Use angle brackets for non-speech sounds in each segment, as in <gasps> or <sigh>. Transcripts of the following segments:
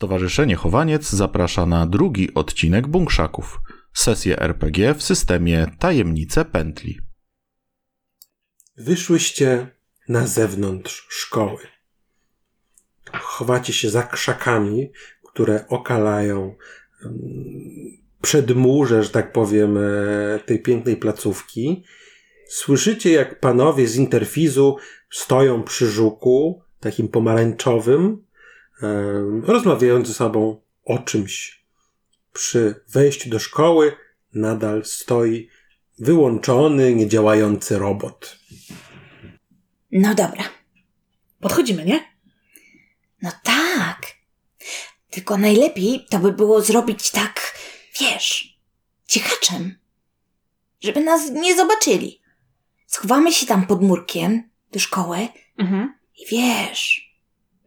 Stowarzyszenie Chowaniec zaprasza na drugi odcinek Bunkszaków. Sesję RPG w systemie Tajemnice Pętli. Wyszłyście na zewnątrz szkoły. Chowacie się za krzakami, które okalają mm, przedmurze, że tak powiem, e, tej pięknej placówki. Słyszycie, jak panowie z interfizu stoją przy żuku, takim pomarańczowym, em, rozmawiając ze sobą o czymś. Przy wejściu do szkoły nadal stoi wyłączony, niedziałający robot. No dobra. Podchodzimy, nie? No tak. Tylko najlepiej to by było zrobić tak, wiesz, cichaczem. Żeby nas nie zobaczyli. Schowamy się tam pod murkiem do szkoły Mhm. i wiesz,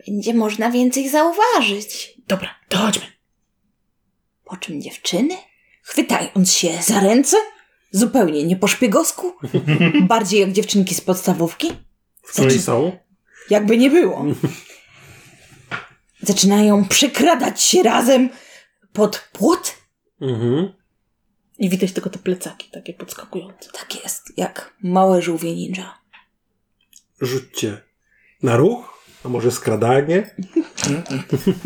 będzie można więcej zauważyć. Dobra, to chodźmy. Po czym dziewczyny, chwytając się za ręce, zupełnie nie po szpiegowsku, bardziej jak dziewczynki z podstawówki, w której No są. Jakby nie było. Zaczynają przekradać się razem pod płot. Mhm. I widać tylko te plecaki takie podskakujące. Tak jest, jak małe żółwie ninja. Rzućcie na ruch, a może skradanie.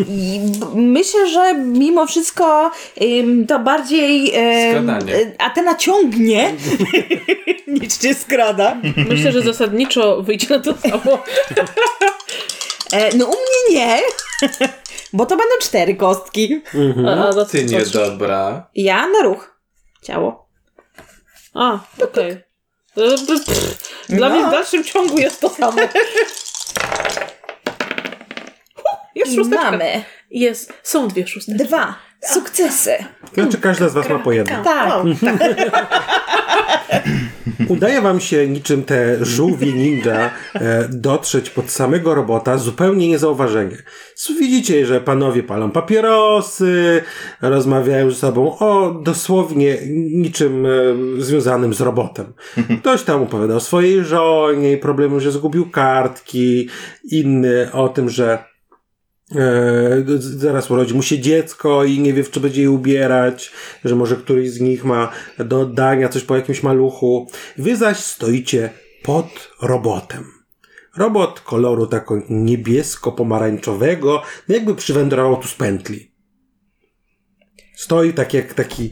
I myślę, że mimo wszystko ym, to bardziej. ym, Skradanie. y, Atena ciągnie. Nic nie skrada. Myślę, że zasadniczo wyjdzie na to samo. E, no u mnie nie. <laughs> Bo to będą cztery kostki. Mhm. A, no Ty niedobra. Ja na ruch. Ciało. A, okej. E, b- pff, Dla No. mnie w dalszym ciągu jest to samo. Jest I szósteczka. mamy Jest, są dwie szósteczki. dwa sukcesy. To znaczy każda z was ma po jedno. Tak. Udaje wam się niczym te żółwie ninja e, dotrzeć pod samego robota zupełnie niezauważenie. S- Widzicie, że panowie palą papierosy, rozmawiają ze sobą o dosłownie niczym e, związanym z robotem. Ktoś tam opowiada o swojej żonie i problemu, że zgubił kartki, inny o tym, że E, z- zaraz urodzi mu się dziecko i nie wie, w co będzie je ubierać, że może któryś z nich ma do oddania coś po jakimś maluchu. Wy zaś stoicie pod robotem. Robot koloru takiego niebiesko-pomarańczowego, no jakby przywędrował tu z pętli. Stoi tak jak taki,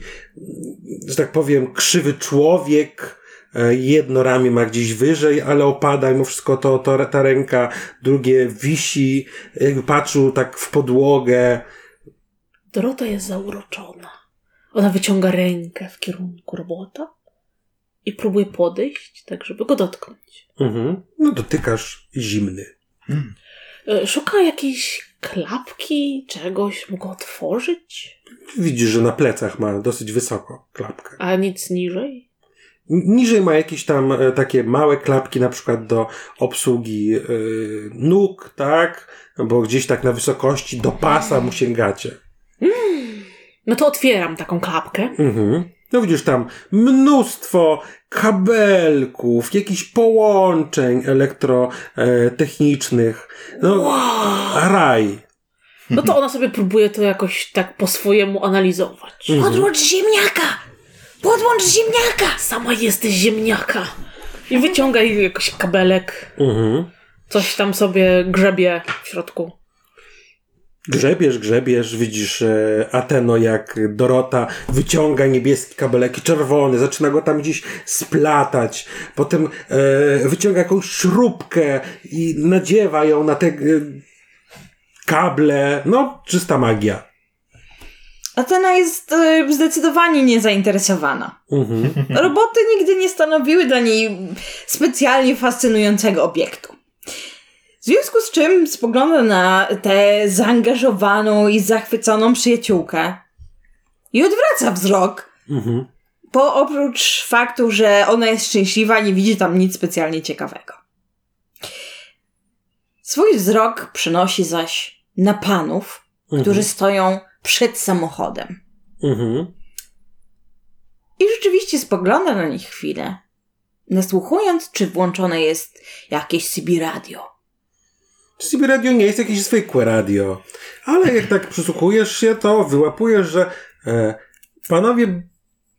że tak powiem, krzywy człowiek. E, Jedno ramię ma gdzieś wyżej, ale opada mimo wszystko to, to ta ręka, drugie wisi, jakby patrzył tak w podłogę. Dorota jest zauroczona. Ona wyciąga rękę w kierunku robota i próbuje podejść, tak żeby go dotknąć. Mhm. No dotykasz zimny. E, Szuka jakiejś klapki, czegoś, mógł otworzyć, Widzisz, że na plecach ma dosyć wysoko klapkę. a nic niżej. N- Niżej ma jakieś tam e, takie małe klapki, na przykład do obsługi e, nóg, tak? Bo gdzieś tak na wysokości do pasa mu sięgacie. No to otwieram taką klapkę. Mhm. No widzisz tam mnóstwo kabelków, jakichś połączeń elektrotechnicznych. No, raj. No to ona sobie próbuje to jakoś tak po swojemu analizować. Mm. Podłącz ziemniaka! Podłącz ziemniaka! Sama jesteś ziemniaka. I wyciąga jej jakiś kabelek. Mhm. Coś tam sobie grzebie w środku. Grzebiesz, grzebiesz, widzisz e, Ateno jak Dorota wyciąga niebieski kabelek i czerwony, zaczyna go tam gdzieś splatać, potem e, wyciąga jakąś śrubkę i nadziewa ją na te e, kable, no czysta magia. Atena jest e, zdecydowanie niezainteresowana. Mhm. Roboty nigdy nie stanowiły dla niej specjalnie fascynującego obiektu. W związku z czym spogląda na tę zaangażowaną i zachwyconą przyjaciółkę i odwraca wzrok, Mhm. bo oprócz faktu, że ona jest szczęśliwa, nie widzi tam nic specjalnie ciekawego. Swój wzrok przynosi zaś na panów, którzy stoją przed samochodem. Mhm. I rzeczywiście spogląda na nich chwilę, nasłuchując, czy włączone jest jakieś CB radio. CB Radio nie jest jakieś zwykłe radio, ale jak tak przysłuchujesz się, to wyłapujesz, że e, panowie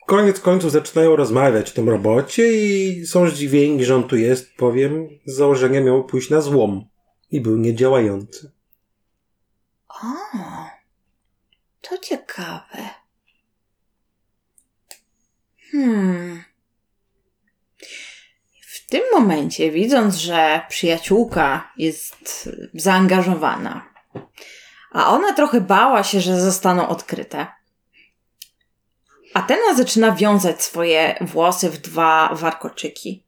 koniec końców zaczynają rozmawiać o tym robocie i są zdziwieni, że on tu jest, powiem, z założenia miał pójść na złom i był niedziałający. O, to ciekawe. Hmm. W tym momencie, widząc, że przyjaciółka jest zaangażowana, A ona trochę bała się, że zostaną odkryte. Atena zaczyna wiązać swoje włosy w dwa warkoczyki.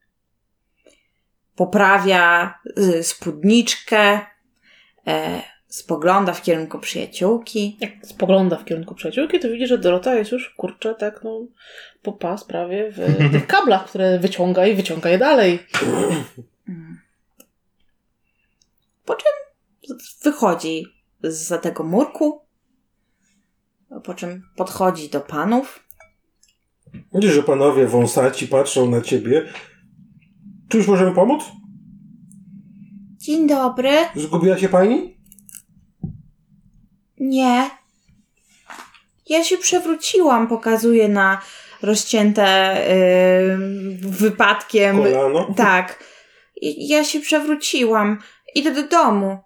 Poprawia y, spódniczkę, e, spogląda w kierunku przyjaciółki. Jak spogląda w kierunku przyjaciółki, to widzi, że Dorota jest już, kurczę, tak no, po pas prawie w tych kablach, które wyciąga i wyciąga je dalej. wychodzi z tego murku, po czym podchodzi do panów. Widzisz, że panowie wąsaci patrzą na ciebie. Czy już możemy pomóc? Dzień dobry. Zgubiła się pani? Nie. Ja się przewróciłam, pokazuję na rozcięte yy, wypadkiem. Kolano? Tak. I- Ja się przewróciłam. Idę do domu.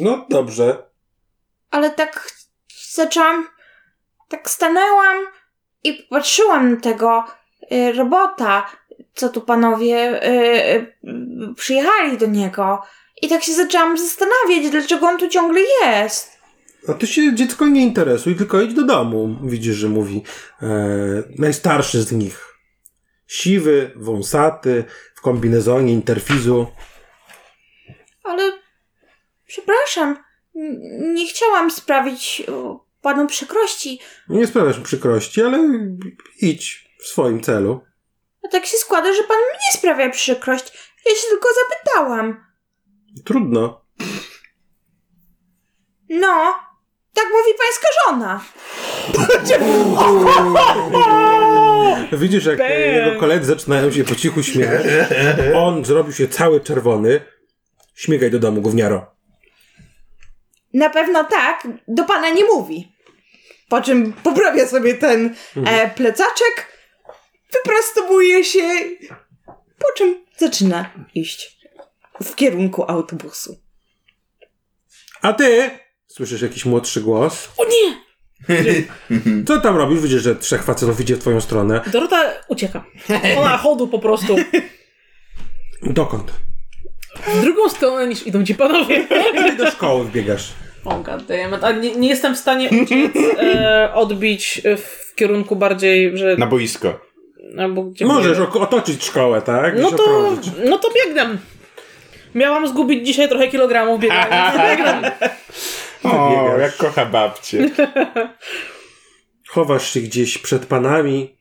No dobrze. Ale tak ch- zaczęłam. Tak stanęłam i popatrzyłam na tego y, robota, co tu panowie y, y, y, przyjechali do niego. I tak się zaczęłam zastanawiać, dlaczego on tu ciągle jest. A ty się dziecko nie interesuj, tylko idź do domu. Widzisz, że mówi e, najstarszy z nich. Siwy, wąsaty, w kombinezonie interfizu. Ale przepraszam, n- nie chciałam sprawić o, panu przykrości. <clears throat> No Nie sprawiasz mu przykrości, ale idź w swoim celu. A tak się składa, że pan mnie sprawia przykrość. Ja się tylko zapytałam. Trudno. No, tak mówi pańska żona. Widzisz, jak e, jego koledzy zaczynają się po cichu śmiać. On zrobił się cały czerwony. Śmigaj do domu, gówniaro. Na pewno tak, do pana nie mówi. Po czym poprawia sobie ten Mhm. e, plecaczek, wyprostowuje się, po czym zaczyna iść w kierunku autobusu. A ty? Słyszysz jakiś młodszy głos? O nie! Co tam robisz? Widzisz, że trzech facetów idzie w twoją stronę. Dorota ucieka. Ona chodu po prostu. Dokąd? W drugą stronę niż idą ci panowie. Ty do szkoły wbiegasz. O Oh god damn it. A nie, nie jestem w stanie <laughs> uciec, e, odbić e, w kierunku bardziej, że... Na boisko. Albo gdzie Możesz ok- otoczyć szkołę, tak? No Gdzieś to, okrążyć. no to biegnę. Miałam zgubić dzisiaj trochę kilogramów <laughs> biegając. Biegnę. O, Wybiegasz. jak kocha babcie. Chowasz się gdzieś przed panami.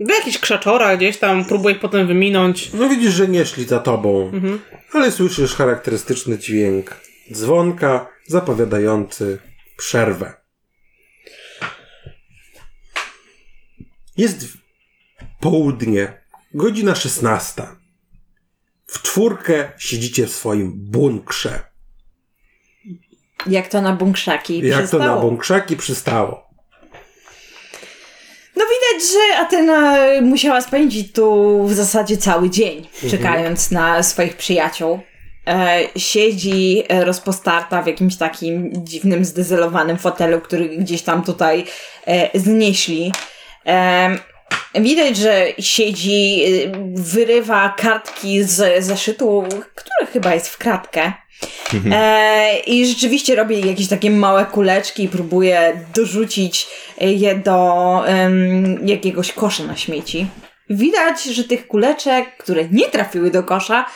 Do jakichś krzaczora gdzieś tam, próbuję ich potem wyminąć. No widzisz, że nie szli za tobą, Mhm. ale słyszysz charakterystyczny dźwięk dzwonka zapowiadający przerwę. Jest południe, godzina 16. W czwórkę siedzicie w swoim bunkrze. Jak to na bunkrzaki Jak to na przystało. bunkrzaki przystało. No widać, że Atena musiała spędzić tu w zasadzie cały dzień, czekając na swoich przyjaciół. E, siedzi e, rozpostarta w jakimś takim dziwnym, zdezelowanym fotelu, który gdzieś tam tutaj e, znieśli. E, widać, że siedzi, e, wyrywa kartki z zeszytu, który chyba jest w kratkę. E, I rzeczywiście robi jakieś takie małe kuleczki i próbuje dorzucić e, je do em, jakiegoś kosza na śmieci. Widać, że tych kuleczek, które nie trafiły do kosza,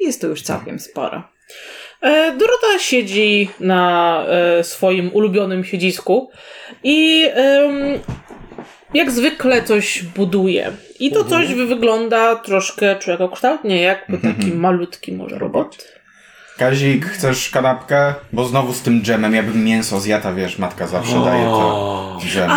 jest tu już całkiem sporo. E, Dorota siedzi na e, swoim ulubionym siedzisku i em, jak zwykle coś buduje. I Mhm. to coś wy- wygląda troszkę człowiekokształtnie, jakby Mhm. taki malutki może robot. Kazik, chcesz kanapkę? Bo znowu z tym dżemem, ja bym mięso zjadł, a wiesz, matka zawsze daje to dżem. A,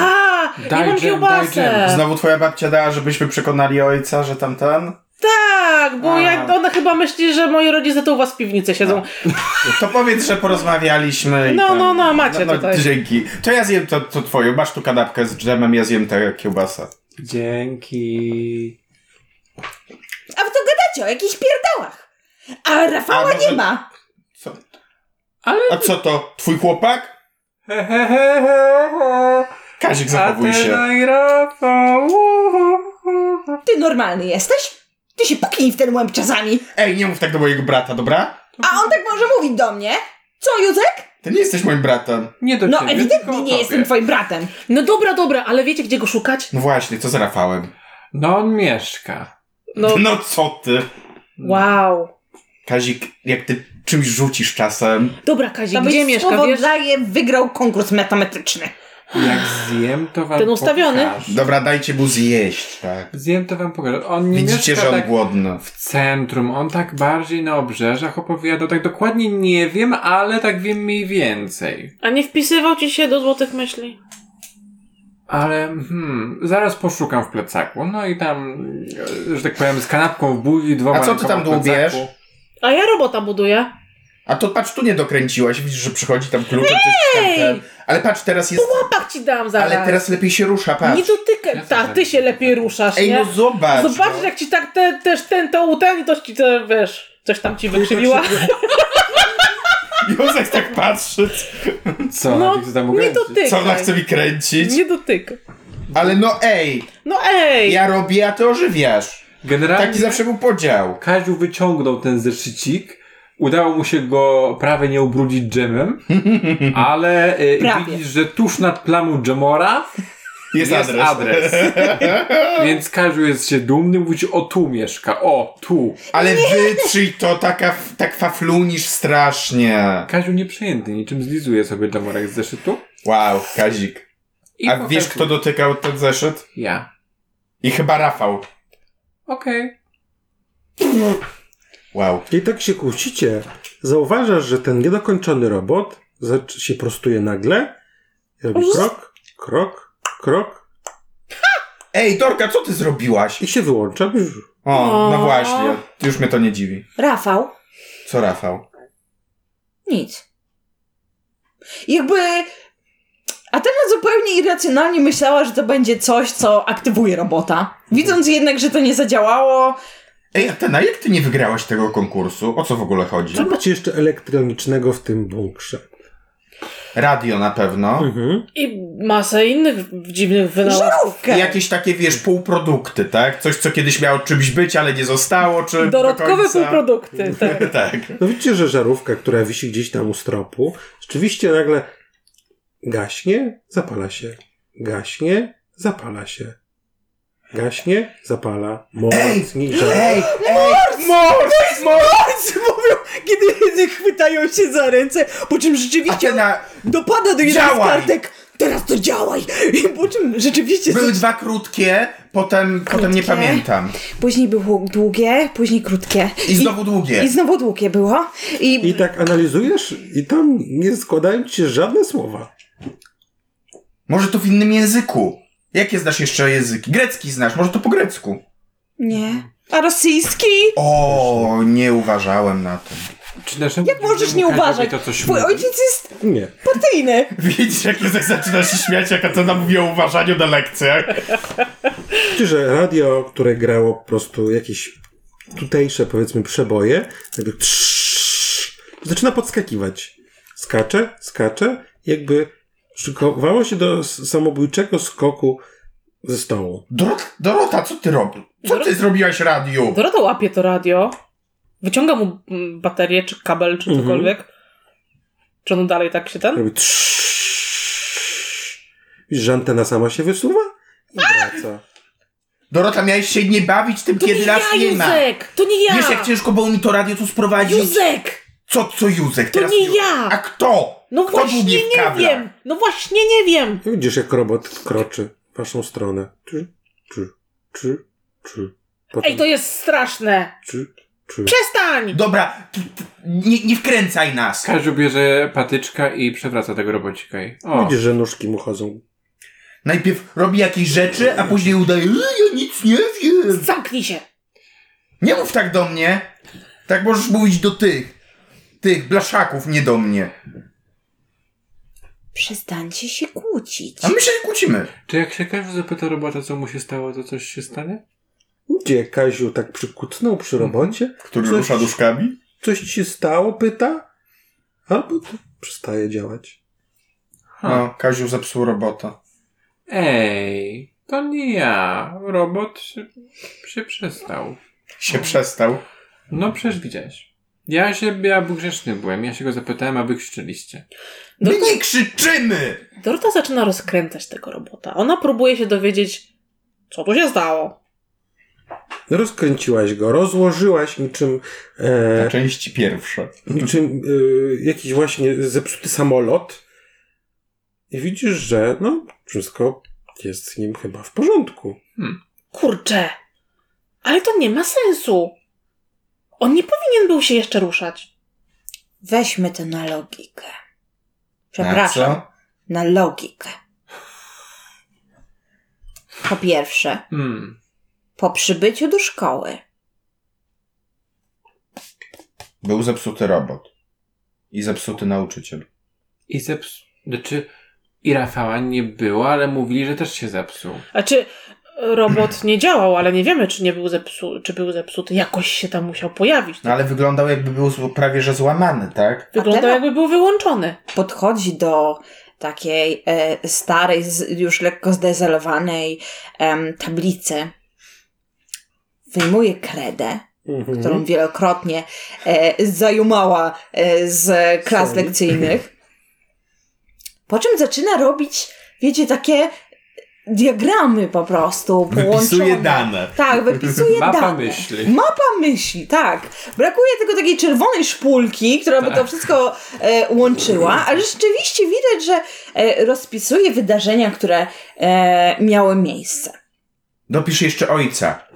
ja Daj mam dżem, daj dżem. kiełbasę! Znowu twoja babcia dała, żebyśmy przekonali ojca, że tamten? Tak, bo A. jak ona chyba myśli, że moi rodzice to u was w piwnicy siedzą. No. To powiedz, że porozmawialiśmy. i No, tam- no, no, macie tutaj. Dzięki. To ja zjem to, to twoje. Masz tu kanapkę z dżemem, ja zjem tę kiełbasę. Dzięki. A wy to gadacie o jakichś pierdałach. A Rafała A może- nie ma. Co? A co to? Twój chłopak? He, he, he, he, he. Kazik, A zachowuj ty się. no i Rafał. uhu, uhu. Ty normalny jesteś? Ty się puknij w ten łeb czasami. Ej, nie mów tak do mojego brata, dobra? A on tak może mówić do mnie. Co, Józek? Ty nie jesteś moim bratem. Nie do No ciebie, Znaczy, tylko o ewidentnie nie tobie. jestem twoim bratem. No dobra, dobra, ale wiecie gdzie go szukać? No właśnie, co z Rafałem? No on mieszka. No, No co ty? Mm. wow. Kazik, jak ty czymś rzucisz czasem. Dobra, Kazik, To gdzie byś mieszka, słowo wiesz? daje wygrał konkurs metametryczny. Jak zjem, to wam Ten ustawiony? pokażę. Dobra, dajcie mu zjeść, tak. Zjem, to wam pokażę. On nie Widzicie, mieszka że on tak głodny. w centrum, on tak bardziej na obrzeżach opowiadał. Tak dokładnie nie wiem, ale tak wiem mniej więcej. A nie wpisywał ci się do złotych myśli? Ale hmm, zaraz poszukam w plecaku. No i tam, e, że tak powiem, z kanapką w buzi, dwoma A co ty tam rękoma w dłubiesz? plecaku. A ja robota buduję. A to patrz, tu nie dokręciłaś, widzisz, że przychodzi tam klucze, coś tam ten. Ale patrz, teraz jest... Pak ci dam zaraz. Ale teraz lepiej się rusza, Nie patrz. dotykaj. Tak, ty się lepiej ruszasz, Ej, nie? no zobacz. Zobacz, no. jak ci tak te, też ten, to ten, to ci to, wiesz, coś tam ci wykrzywiła. Józek tak patrzy, Co? No, No, co tam nie ukręcić? dotykaj. co ona chce mi kręcić. Nie dotykaj. Ale no ej, No ej! ja robię, a ty ożywiasz. Generalnie Taki zawsze był podział. Kaziu wyciągnął ten zeszycik. Udało mu się go prawie nie ubrudzić dżemem, ale e, Prawie. widzisz, że tuż nad plamą dżemora Jest, jest, adres. Więc Kaziu jest się dumny, mówić o tu mieszka, o tu. Ale wytrzyj to, taka, tak faflunisz strasznie. Kaziu nieprzyjęty, niczym zlizuje sobie dżemorek z zeszytu. Wow, Kazik. I A wiesz, kto pokazuje. dotykał ten zeszyt? Ja. I chyba Rafał. Okej. Wow. I tak się kłócicie, zauważasz, że ten niedokończony robot zac- się prostuje nagle, robi krok, krok, krok Ej, Dorka, co ty zrobiłaś? i się wyłącza. O, no O. właśnie. Już mnie to nie dziwi. Rafał? Co Rafał? Nic. Jakby... A teraz zupełnie irracjonalnie myślała, że to będzie coś, co aktywuje robota. Widząc jednak, że to nie zadziałało, Ej, Atena, jak ty nie wygrałaś tego konkursu? O co w ogóle chodzi? Co macie jeszcze elektronicznego w tym bunkrze? Radio na pewno. Mhm. I masę innych dziwnych wynalazków. I żarówkę. jakieś takie, wiesz, półprodukty, tak? Coś, co kiedyś miało czymś być, ale nie zostało, czy do Dodatkowe końca. półprodukty. Tak. <laughs> tak. No widzicie, że żarówka, która wisi gdzieś tam u stropu, rzeczywiście nagle gaśnie, zapala się, gaśnie, zapala się. Gaśnie, zapala. Mocniej, że... Ej, no ej, mors, mors! mówią, kiedy chwytają się za ręce, po czym rzeczywiście Atena, dopada do jednej z Działaj! kartek. Teraz to działaj! I po czym rzeczywiście... były dwa krótkie, potem, potem nie pamiętam. Później było długie, później krótkie. I znowu długie. I znowu długie było. I, I tak analizujesz i tam nie składają ci się żadne słowa. Może to w innym języku. Jakie znasz jeszcze języki? Grecki znasz, może to po grecku. Nie. A rosyjski? O, nie uważałem na to. Czy naszemu Jak możesz dziwnemu nie Kaziowi uważać? To coś Twój mówi? ojciec jest Nie. partyjny. Widzisz, jak Józek zaczyna się śmiać, jak Atena mówi o uważaniu na lekcjach. Czy że radio, które grało po prostu jakieś tutejsze, powiedzmy, przeboje, jakby trz- zaczyna podskakiwać. Skacze, skacze, jakby szykowało się do s- samobójczego skoku ze stołu. Dorot, Dorota, co ty robisz? Co ty Dorota- zrobiłaś radiu? Dorota łapie to radio, wyciąga mu mm, baterię, czy kabel, czy Mhm. cokolwiek. Czy on dalej tak się ten? Robi trz- Widzisz, że antena sama się wysuwa i wraca. Dorota, miałeś się nie bawić tym, To kiedy nie ja, nas nie ma. Józek! To nie ja! Wiesz, jak ciężko było mi to radio tu sprowadzić? Józek! Co, co Józek? To Teraz nie Józek. ja! A kto? No kto był właśnie mnie w nie kablach? wiem! No właśnie nie wiem! I widzisz, jak robot kroczy w waszą stronę. Czy, czy, czy, czy. Potem Ej, to jest straszne! czy, czy. Przestań! Dobra, ty, ty, nie, nie wkręcaj nas. Kaziu bierze patyczka i przewraca tego robocika. i- O, Widzisz, że nóżki mu chodzą. Najpierw robi jakieś rzeczy, a później udaje, "E, ja nic nie wiem. Zamknij się! Nie mów tak do mnie! Tak możesz mówić do tych. Tych blaszaków, nie do mnie. Przestańcie się kłócić. A my się nie kłócimy. Czy jak się każdy zapyta robota, co mu się stało, to coś się stanie? Gdzie Kaziu tak przykucnął przy robocie? Mhm. Który Coś- rusza duszkami? Coś ci się stało? Pyta. Albo to przestaje działać. No, Kaziu zepsuł robota. Ej, to nie ja. Robot się, się przestał. Się przestał. No przecież widziałeś. Ja się, ja był grzeczny byłem, ja się go zapytałem, a wy krzyczyliście. My Dorota, nie krzyczymy! Dorota zaczyna rozkręcać tego robota. Ona próbuje się dowiedzieć, co tu się stało. Rozkręciłaś go, rozłożyłaś niczym, Na e, części pierwsze. niczym e, jakiś właśnie zepsuty samolot. I widzisz, że no, wszystko jest z nim chyba w porządku. Kurczę, ale to nie ma sensu. On nie powinien był się jeszcze ruszać. Weźmy to na logikę. Przepraszam. Na co? Na logikę. Po pierwsze, Hmm. po przybyciu do szkoły. Był zepsuty robot. I zepsuty nauczyciel. I zepsuł. Znaczy, i Rafała nie było, ale mówili, że też się zepsuł. A czy robot nie działał, ale nie wiemy, czy nie był zepsuty, czy był zepsuty. Jakoś się tam musiał pojawić. No ale wyglądał jakby był zło- prawie że złamany, tak? Wyglądał teraz- jakby był wyłączony. podchodzi do takiej e, starej, z, już lekko zdezelowanej em, tablicy, wyjmuje kredę, Mhm. którą wielokrotnie e, zajumała e, z klas Soli. <laughs> lekcyjnych. Po czym zaczyna robić, wiecie, takie diagramy po prostu połączone. Wypisuje dane. Tak, wypisuje <laughs> Mapa dane. myśli. Mapa myśli, tak. Brakuje tylko takiej czerwonej szpulki, która by Tak. to wszystko e, łączyła, ale rzeczywiście widać, że e, rozpisuje wydarzenia, które e, miały miejsce. Dopisz jeszcze ojca.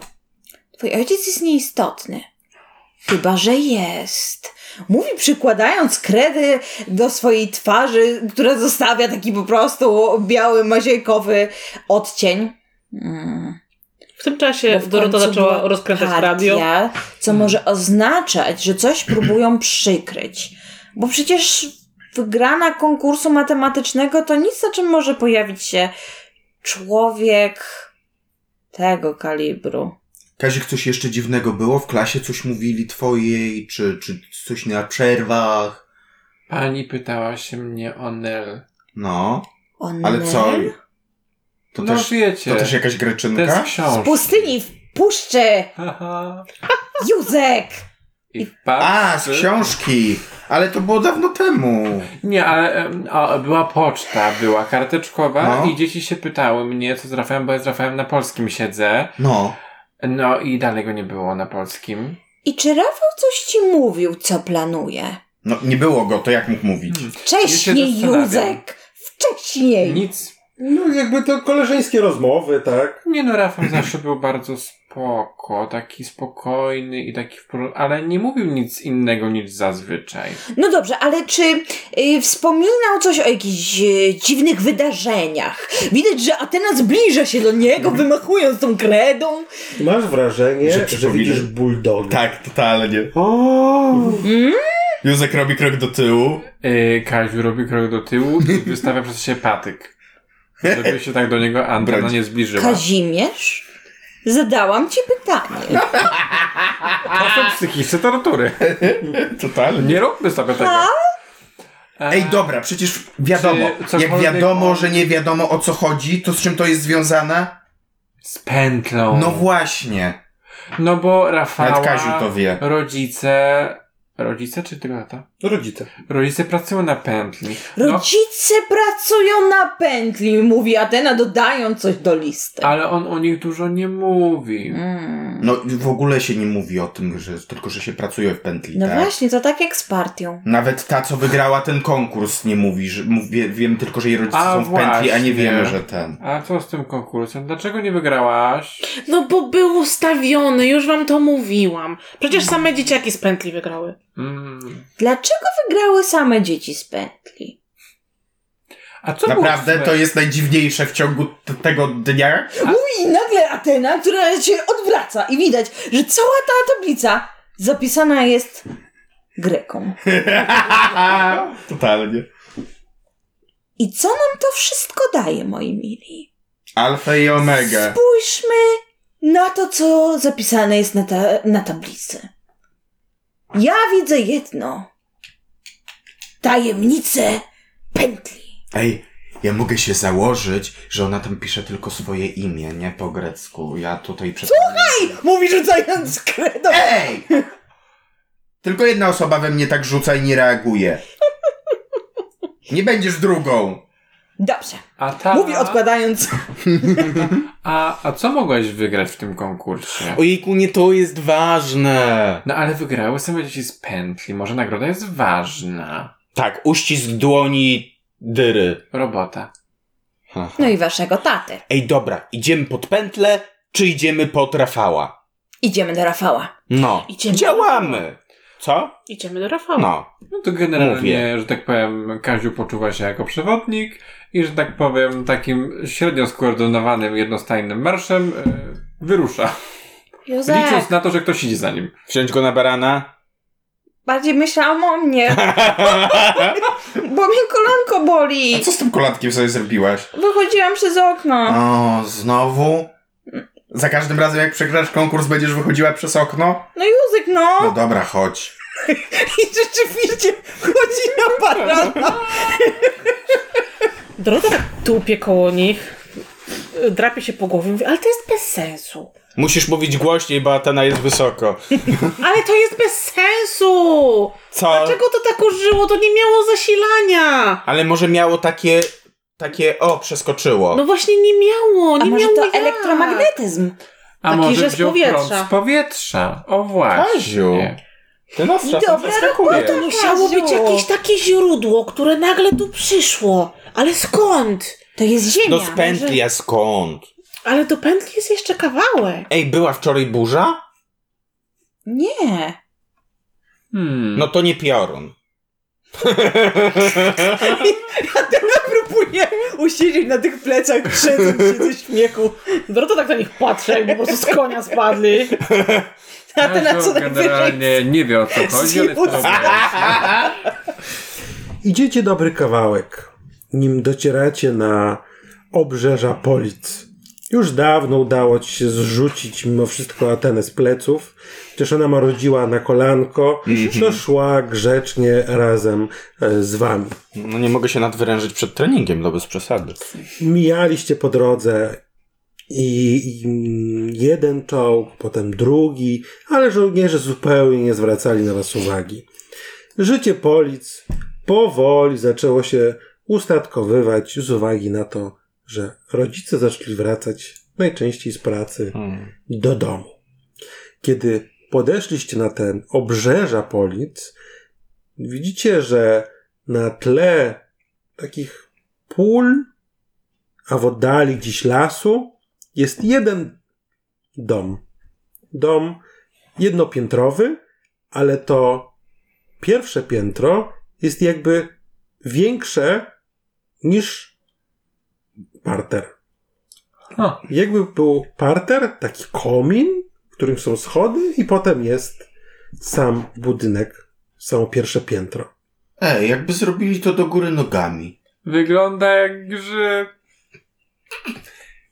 Twój ojciec jest nieistotny. Chyba, że jest. Mówi przykładając kredy do swojej twarzy, która zostawia taki po prostu biały, maziejkowy odcień. Mm. W tym czasie Bo w Dorota końcu zaczęła była rozkręcać partia, radio. Mm. Co może oznaczać, że coś próbują przykryć. Bo przecież wygrana konkursu matematycznego to nic, na czym może pojawić się człowiek tego kalibru. Kazik, coś jeszcze dziwnego było? W klasie coś mówili twojej, czy, czy coś na przerwach? Pani pytała się mnie o Nel. No, On ale co? To, no też, wiecie, to też jakaś to jest greczynka? książka. W pustyni, w puszczy, Haha. Józek! I wpadł- A, z książki! Ale to było dawno temu. Nie, ale em, o, była poczta, była karteczkowa No. i dzieci się pytały mnie, co z Rafałem, bo ja z Rafałem na polskim siedzę. No. No i dalej go nie było na polskim. I czy Rafał coś ci mówił, co planuje? No, nie było go, to jak mógł mówić? Hmm. Wcześniej, zastanawiam. Józek! Wcześniej! Nic. No jakby to koleżeńskie rozmowy, tak? Nie no, Rafał zawsze był bardzo spoko, taki spokojny i taki... wpro- Ale nie mówił nic innego niż zazwyczaj. No dobrze, ale czy y, wspominał coś o jakichś y, dziwnych wydarzeniach? Widać, że Atena zbliża się do niego, wymachując tą kredą. Masz wrażenie, Że że, przypomina- widzisz bulldoga. Tak, totalnie. O! Józek robi krok do tyłu. Yy, Kaziu robi krok do tyłu <laughs> i wystawia przez siebie patyk. Żeby się tak do niego Antona Broń. nie zbliżyła. Kazimierz? Zadałam ci pytanie. To są psychiczne tortury. Totalnie. Nie róbmy sobie tego. Ej, dobra, przecież wiadomo. Czy Jak cokolwiek wiadomo, on- że nie wiadomo o co chodzi, to z czym to jest związane? Z pętlą. No właśnie. No bo Rafała... Nawet Kaziu to wie. Rodzice... Rodzice czy tylko tata? No, Rodzice. Rodzice pracują na pętli. No, Rodzice pracują na pętli, mówi Atena, dodając coś do listy. ale on o nich dużo nie mówi. tak. Mm. No w ogóle się nie mówi o tym, że tylko że się pracuje w pętli, No tak? właśnie, to tak jak z partią. Nawet ta, co wygrała ten konkurs, nie mówi, że mówi, wie- wiem tylko, że jej rodzice A, są w pętli, a nie właśnie. wiemy, że ten. A co z tym konkursem? Dlaczego nie wygrałaś? No bo był ustawiony, już wam to mówiłam. Przecież same dzieciaki z pętli wygrały. Mm. Dlaczego wygrały same dzieci z pętli? A co było Naprawdę ósme? to jest najdziwniejsze w ciągu t- tego dnia. Uj, i nagle Atena, która się odwraca i widać, że cała ta tablica zapisana jest Grekom. Totalnie. I co nam to wszystko daje, moi mili? Alfa i omega. Spójrzmy na to, co zapisane jest na, ta na tablicy. Ja widzę jedno. Tajemnicę pętli. Ej, ja mogę się założyć, że ona tam pisze tylko swoje imię, nie po grecku. Ja tutaj przed... Słuchaj! Mówi rzucając kredą. Ej! Tylko jedna osoba we mnie tak rzuca i nie reaguje. Nie będziesz drugą. Dobrze. A ta... Mówi odkładając. A, a co mogłaś wygrać w tym konkursie? Ojejku, nie to jest ważne. No ale wygrały same dzieci z pętli. Może nagroda jest ważna. Tak, uścisk dłoni dyry. Robota. No i waszego taty. Ej, dobra, idziemy pod pętlę, czy idziemy pod Rafała? Idziemy do Rafała. No. Idziemy. Działamy! Co? Idziemy do Rafała. No. No to generalnie, Mówię. że tak powiem, Kaziu poczuwa się jako przewodnik i że tak powiem, takim średnio skoordynowanym, jednostajnym marszem e, wyrusza. Józef, Licząc na to, że ktoś idzie za nim. Wziąć go na barana? bardziej myślałam o mnie, <laughs> bo mnie kolanko A boli. co z tym kolatkiem sobie zrobiłaś? Wychodziłam przez okno. O, znowu? Za każdym razem jak przegrasz konkurs będziesz wychodziła przez okno? No Józek, No no. dobra, chodź. I rzeczywiście chodzi na barana. Dorota tak tupie koło nich, y, drapie się po głowie i mówi, ale to jest bez sensu. Musisz mówić głośniej, bo Atena jest wysoko. Ale to jest bez sensu! Co? Dlaczego to tak użyło? To nie miało zasilania! Ale może miało takie... Takie... O, przeskoczyło. No właśnie nie miało, A nie może miało to jak. elektromagnetyzm? A Taki, może że z wziął powietrza. prąd z powietrza. O właśnie. Kaziu. Ty nas czasem Dobra zaskakujesz. To musiało być Kaziu. jakieś takie źródło, które nagle tu przyszło. Ale skąd? To jest ziemia. No z pętli, a skąd? Ale do pętli jest jeszcze kawałek. Ej, była wczoraj burza? Nie. Hmm. No to nie piorun. Próbuję usiedzieć na tych plecach, krzyczeć się ze śmiechu. Dorota tak na nich patrzy, jakby po prostu z konia spadli. <laughs> A ten na No Kaziu co najwyżej... generalnie nie wie o co chodzi, ale Zjebał. to Idziecie dobry kawałek, nim docieracie na obrzeża Polic. Już dawno udało ci się zrzucić mimo wszystko Atenę z pleców, chociaż ona marodziła na kolanko, to szła grzecznie razem e, z wami. No nie mogę się nadwyrężyć przed treningiem, no bez przesady. Mijaliście po drodze i, i jeden czołg, potem drugi, ale żołnierze zupełnie nie zwracali na was uwagi. Życie Polic powoli zaczęło się ustatkowywać z uwagi na to, że rodzice zaczęli wracać najczęściej z pracy do domu. Kiedy podeszliście na ten obrzeża Polic, widzicie, że na tle takich pól, a w oddali gdzieś lasu jest jeden dom. Dom jednopiętrowy, ale to pierwsze piętro jest jakby większe niż parter. O. Jakby był parter, taki komin, w którym są schody i potem jest sam budynek, samo pierwsze piętro. Ej, jakby zrobili to do góry nogami. Wygląda jak grzyb.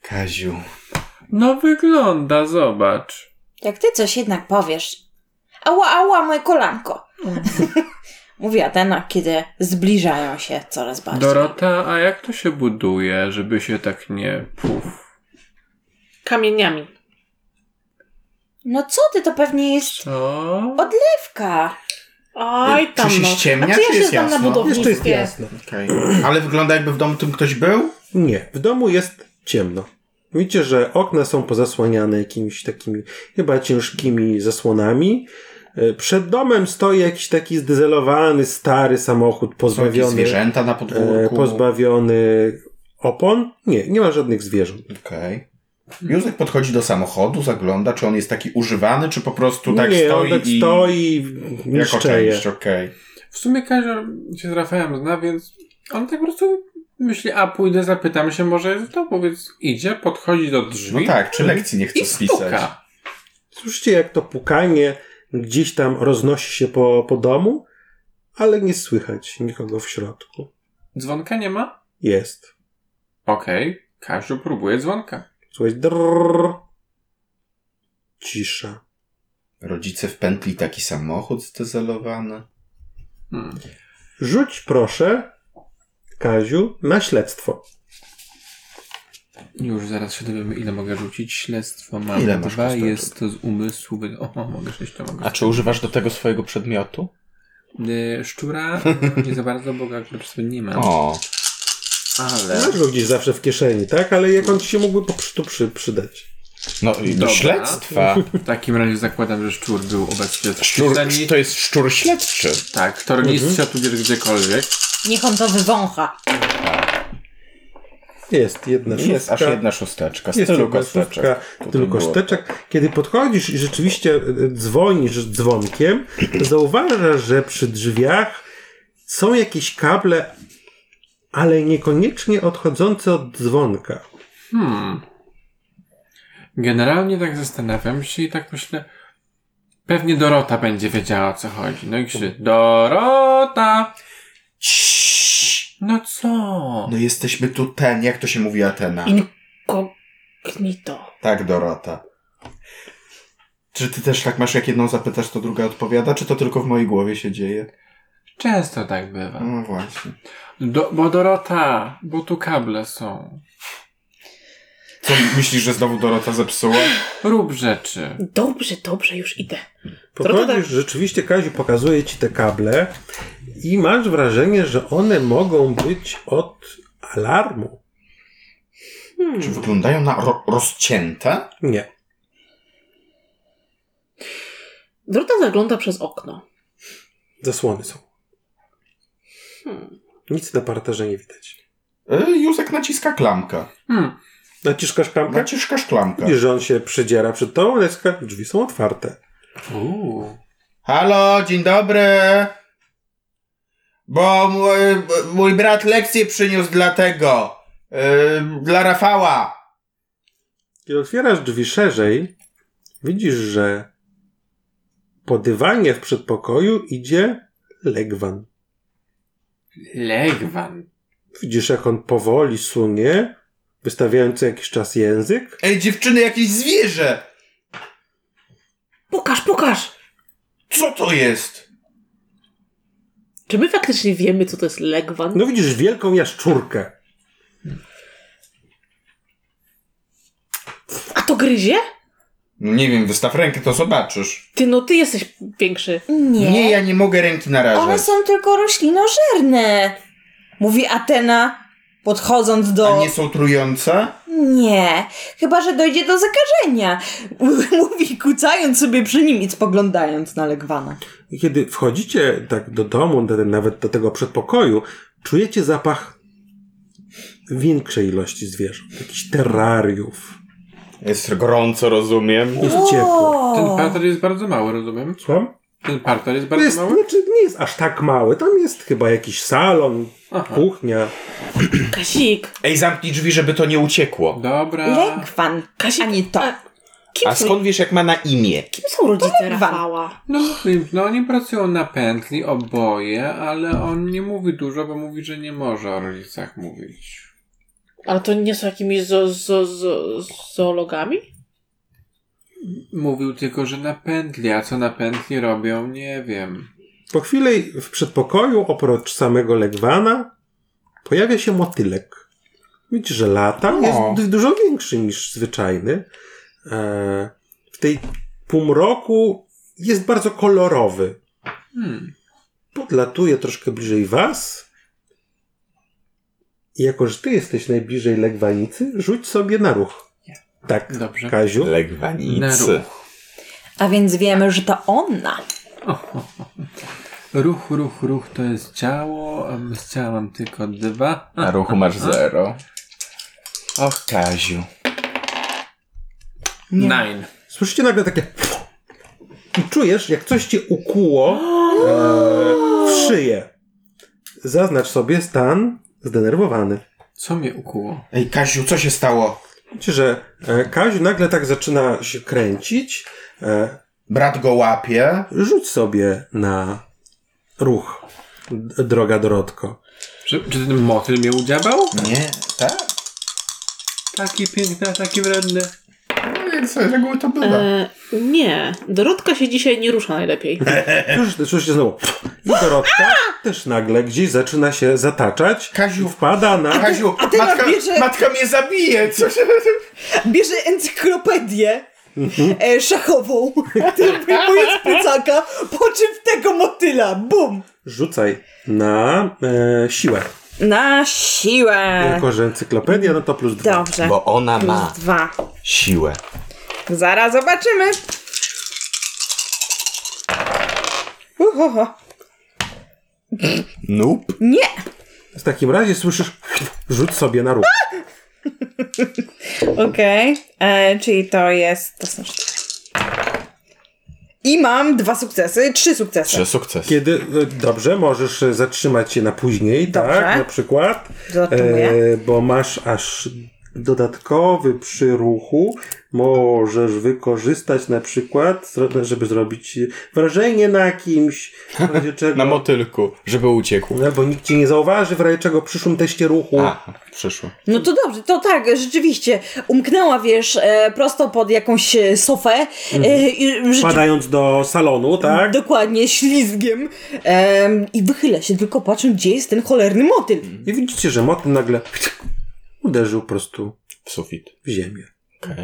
Kaziu. No wygląda, zobacz. Jak ty coś jednak powiesz. Ała, ała, moje <laughs> kolanko. Mówi Atena, kiedy zbliżają się coraz bardziej. Dorota, a jak to się buduje, żeby się tak nie puf? Kamieniami. No co ty, to pewnie jest Co? odlewka. Aj, tam Czy się no. ściemnia, A czy czy ja się jest znam na jasno? budownictwie? Jeszcze jest jasno. Okej. Ale wygląda jakby w domu tym ktoś był? Nie, w domu jest ciemno. Widzicie, że okna są pozasłaniane jakimiś takimi chyba ciężkimi zasłonami. E, Przed domem stoi jakiś taki zdezelowany, stary samochód, Są jakieś pozbawiony, zwierzęta na e, podwórku? pozbawiony opon. Nie, nie ma żadnych zwierząt. Okej. Józek podchodzi do samochodu, zagląda, czy on jest taki używany, czy po prostu tak nie, stoi on tak i... stoi i Jako niszczeje. część, okej. W sumie Kazio się z Rafałem zna, więc on tak po prostu Myśli, a pójdę, zapytam się, może to powiedz, idzie, podchodzi do No drzwi tak, czy lekcji nie chce i spisać? stuka. Słyszycie, jak to pukanie gdzieś tam roznosi się po, po domu, ale nie słychać nikogo w środku. Dzwonka nie ma? Jest. Okej, Kasiu próbuje dzwonka. Słuchaj, drrr. Cisza. Rodzice w pętli taki samochód zdezelowany. Hmm. Rzuć proszę, Kaziu, na śledztwo. Już zaraz się dowiemy, ile mogę rzucić. Śledztwo mam Ile masz dwa, kosteczek? jest to z umysłu. wy- O, o, mogę sześć, to mogę. A czy używasz do tego swojego przedmiotu? Y, Szczura nie za bardzo, bo go akurat sobie nie mam. O, Ale... Masz go gdzieś zawsze w kieszeni, tak? Ale jak on ci się mógłby po prostu przy, przydać. no i do Dobra. śledztwa. W takim razie zakładam, że szczur był obecnie w Szczur, śledzeniu. to jest szczur śledczy. Tak, tornistrza tudzież gdziekolwiek. Niech on to wywącha. Jest jedna szóstka. Jest aż jedna szósteczka, z Jest tylu jedna szóstka, kosteczek. Tutaj tylu było. kosteczek. Kiedy podchodzisz i rzeczywiście e, dzwonisz dzwonkiem, zauważasz, że przy drzwiach są jakieś kable, ale niekoniecznie odchodzące od dzwonka. Hmm. Generalnie tak zastanawiam się i tak myślę, pewnie Dorota będzie wiedziała o co chodzi. No i krzyczy, Dorota! No co? No jesteśmy tu ten, jak to się mówi Atena? Incognito. Tak, Dorota. Czy ty też tak masz, jak jedną zapytasz, to druga odpowiada? Czy to tylko w mojej głowie się dzieje? Często tak bywa. No właśnie. Do, bo Dorota, bo tu kable są. Co, myślisz, że znowu Dorota zepsuła? Rób rzeczy. Dobrze, dobrze, już idę. Podchodzisz, rzeczywiście Kaziu pokazuje ci te kable i masz wrażenie, że one mogą być od alarmu. Hmm. Czy wyglądają na ro- rozcięte? Nie. Dorota zagląda przez okno. Zasłony są. Hmm. Nic na parterze nie widać. Y, Józek naciska klamkę. Hmm. Naciskasz klamkę? Naciskasz klamkę. Widzisz, że on się przedziera przed tobą, ale sk- drzwi są otwarte. Uuu. Halo, dzień dobry. Bo mój, mój brat lekcję przyniósł dla tego. y, dla Rafała. Kiedy otwierasz drzwi szerzej, widzisz, że po dywanie w przedpokoju idzie Legwan. Legwan. Widzisz, jak on powoli sunie, wystawiając co jakiś czas język. Ej, dziewczyny, jakieś zwierzę! Pokaż, pokaż! Co to jest? Czy my faktycznie wiemy, co to jest legwan? No widzisz wielką jaszczurkę. A to gryzie? No Nie wiem, wystaw rękę, to zobaczysz. Ty, no ty jesteś większy. Nie. Nie, ja nie mogę ręki One narażać. są tylko roślinożerne. Mówi Atena, podchodząc A do. nie są trujące? Nie, chyba że dojdzie do zakażenia. <laughs> Mówi, kucając sobie przy nim i spoglądając na Legwana. I kiedy wchodzicie tak do domu, do, nawet do tego przedpokoju, czujecie zapach większej ilości zwierząt, jakichś terrariów. Jest gorąco, rozumiem. Jest ciepło. Ten parter jest bardzo mały, rozumiem? Słucham? Ten parter jest To bardzo jest, mały? znaczy nie jest aż tak mały. Tam jest chyba jakiś salon, Aha. kuchnia. Kasik. Ej, zamknij drzwi, żeby to nie uciekło. Dobra. Legwan, Kasia- a nie to. A- Kim, A są, skąd wiesz, jak ma na imię? kim są rodzice Legwan. Rafała? No, no oni pracują na pętli oboje, ale on nie mówi dużo, bo mówi, że nie może o rodzicach mówić. Ale to nie są jakimiś zo, zo, zo, zoologami? Mówił tylko, że na pętli, a co na pętli robią, nie wiem. Po chwili w przedpokoju, oprócz samego Legwana, pojawia się motylek. Widzisz, że lata jest du- dużo większy niż zwyczajny. E, w tej półmroku jest bardzo kolorowy. Hmm. podlatuje troszkę bliżej was. I jako, że ty jesteś najbliżej legwanicy, rzuć sobie na ruch. Tak, Dobrze. Kaziu. Na Legwanicy. ruch. A więc wiemy, że to ona. Ruch, ruch, ruch to jest ciało, a z ciała mam tylko dwa. Na ruchu masz zero. Och, Kaziu. Nine. Słyszycie nagle takie... I czujesz, jak coś cię ukuło e, w szyję. Zaznacz sobie stan zdenerwowany. Co mnie ukuło? Ej, Kaziu, co się stało? Widzicie, że e, Kaziu nagle tak zaczyna się kręcić. E, Brat go łapie. rzuć sobie na ruch, d- droga Dorotko. Czy, czy ten motyl mnie udziabał? Nie, tak? Taki piękny, a taki wredny. No, jak z reguły to bywa. Yy, E, nie, Dorotka się dzisiaj nie rusza najlepiej. Już, już się znowu. I Dorotka też nagle gdzieś zaczyna się zataczać. Kaziu. I wpada na. Kaziu, a ty matka, nabierze- matka mnie zabije, co się... Bierze encyklopedię e, szachową, którą wyjmuje z plecaka, po czym w tego motyla. Bum! Rzucaj na e, siłę. Na siłę. Jako, że encyklopedia, no to plus dwa. Dobrze. Bo ona ma Plus dwa. siłę. Zaraz zobaczymy. Uhoho. Nope. Nie! W takim razie słyszysz, rzuć sobie na ruch. Okej, e, czyli to jest. To są cztery. I mam dwa sukcesy, trzy sukcesy. Trzy sukcesy. Kiedy, e, dobrze, możesz e, zatrzymać się na później, Dobrze. tak, na przykład, e, Zatrzymuję. bo masz aż dodatkowy przy ruchu, możesz wykorzystać na przykład, zro- żeby zrobić wrażenie na kimś, w razie czego, Na motylku, żeby uciekł. no, bo nikt cię nie zauważy, w razie czego w przyszłym teście ruchu. A, przyszło. No to dobrze, to tak, rzeczywiście. Umknęła, wiesz, e, prosto pod jakąś e, sofę. E, i rzeczy- Padając do salonu, tak? Dokładnie, ślizgiem. Em, I wychyla się, tylko patrzę, gdzie jest ten cholerny motyl. I widzicie, że motyl nagle uderzył po prostu W sufit. w ziemię. Okej.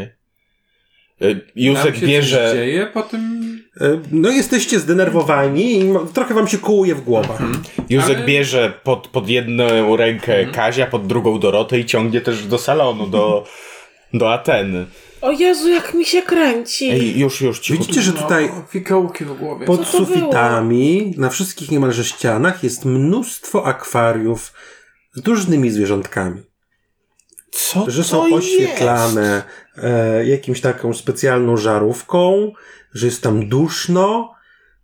Okay. Józek Tam się coś bierze, dzieje po tym... E, No jesteście zdenerwowani i mo- trochę wam się kołuje w głowach. Józek ale- bierze pod, pod jedną rękę Kazia, pod drugą Dorotę i ciągnie też do salonu, do, do Ateny. O Jezu, jak mi się kręci. Ej, już, już, cicho. Widzicie, że tutaj No, fikołki w głowie. pod to było? sufitami, na wszystkich niemalże ścianach jest mnóstwo akwariów z różnymi zwierzątkami. Co Że to są jest? oświetlane e, jakimś taką specjalną żarówką, że jest tam duszno,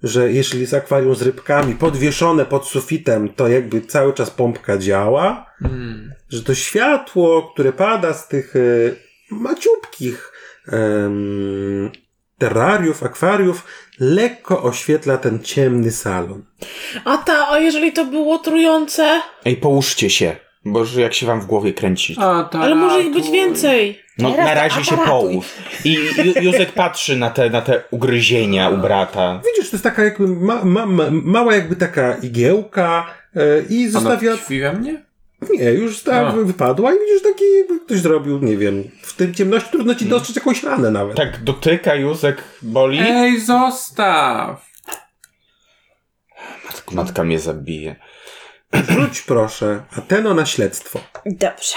że jeśli jest akwarium z rybkami podwieszone pod sufitem, to jakby cały czas pompka działa. Hmm. Mm. że to światło, które pada z tych e, maciupkich em, terrariów, akwariów, lekko oświetla ten ciemny salon. A ta, a jeżeli to było trujące? Ej, połóżcie się, bo że jak się wam w głowie kręci. A, tak. Ale może ich być więcej. No, Teraz na razie się aparatuj. połóż. I Ju- Józek patrzy na te, na te ugryzienia u brata. Widzisz, to jest taka jakby ma, ma, ma, mała jakby taka igiełka e, i zostawia... Zostawia... Krwi we mnie? Nie, już ta A. wypadła i widzisz taki jakby ktoś zrobił, nie wiem, w tym ciemności trudno ci dostrzec jakąś ranę nawet. Mm. Tak dotyka Józek, boli. E. Ej, zostaw! Matka mnie zabije. Rzuć proszę Ateno na śledztwo. Dobrze.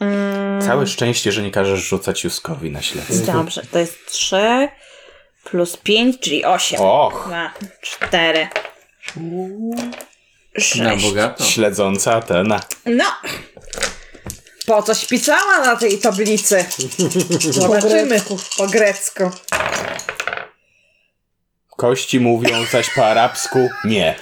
Mm, Całe szczęście, że nie każesz rzucać Józkowi na śledztwo. Dobrze, to jest 3 plus 5, czyli 8. Och, 2, 4, Na 6. bogato. No. śledząca Atena. No! Po coś pisała na tej tablicy. Zobaczymy po grecku. Kości mówią zaś po arabsku nie.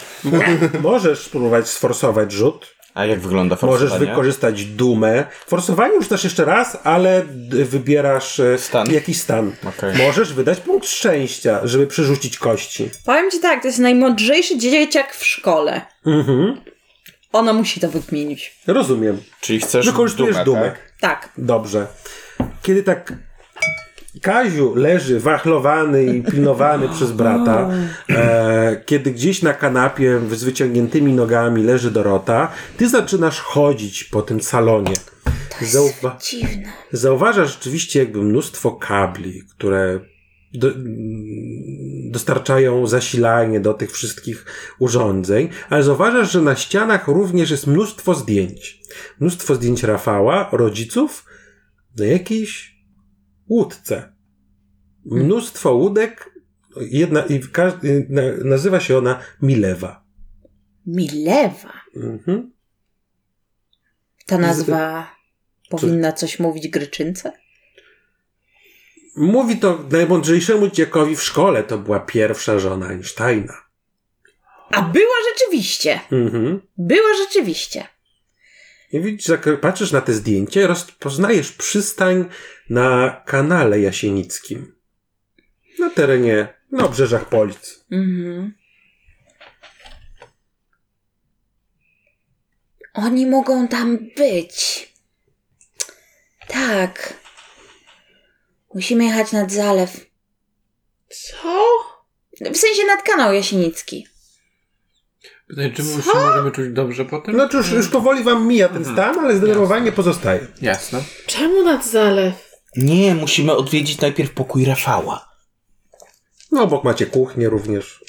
Możesz spróbować sforsować rzut. A jak wygląda forsowanie? Możesz wykorzystać dumę. Forsowanie rzucasz jeszcze raz, ale d- wybierasz e, Stan. jakiś stan. Okej. Możesz wydać punkt szczęścia, żeby przerzucić kości. Powiem ci tak, to jest najmądrzejszy dzieciak w szkole. Mhm. Ona musi to wykminić. Rozumiem. Czyli chcesz Wykorzystujesz dumę, dumę. tak? Tak. Dobrze. Kiedy tak Kaziu leży wachlowany i pilnowany przez brata, e, kiedy gdzieś na kanapie z wyciągniętymi nogami leży Dorota, ty zaczynasz chodzić po tym salonie. Zauwa- Dziwne. Zauważasz rzeczywiście jakby mnóstwo kabli, które do, mm, dostarczają zasilanie do tych wszystkich urządzeń, ale zauważasz, że na ścianach również jest mnóstwo zdjęć. Mnóstwo zdjęć Rafała, rodziców na jakiejś łódce. Mnóstwo łódek, jedna, i każ- y, na, nazywa się ona Milewa. Milewa. Mhm. Ta nazwa powinna coś mówić gryczynce? Mówi to najmądrzejszemu dzieckowi w szkole, to była pierwsza żona Einsteina. A była rzeczywiście. Mhm. Była rzeczywiście. I widzisz, jak patrzysz na te zdjęcie, rozpoznajesz przystań na kanale Jasienickim. Na terenie, na obrzeżach Polic. Mhm. Oni mogą tam być. Tak. Musimy jechać nad zalew. Co? W sensie nad kanał Jasienicki. Pytanie, czy my się możemy czuć dobrze potem? Znaczy już, już powoli wam mija ten stan, ale zdenerwowanie pozostaje. Jasne. Czemu nad zalew? Nie, musimy odwiedzić najpierw pokój Rafała. No obok macie kuchnię również.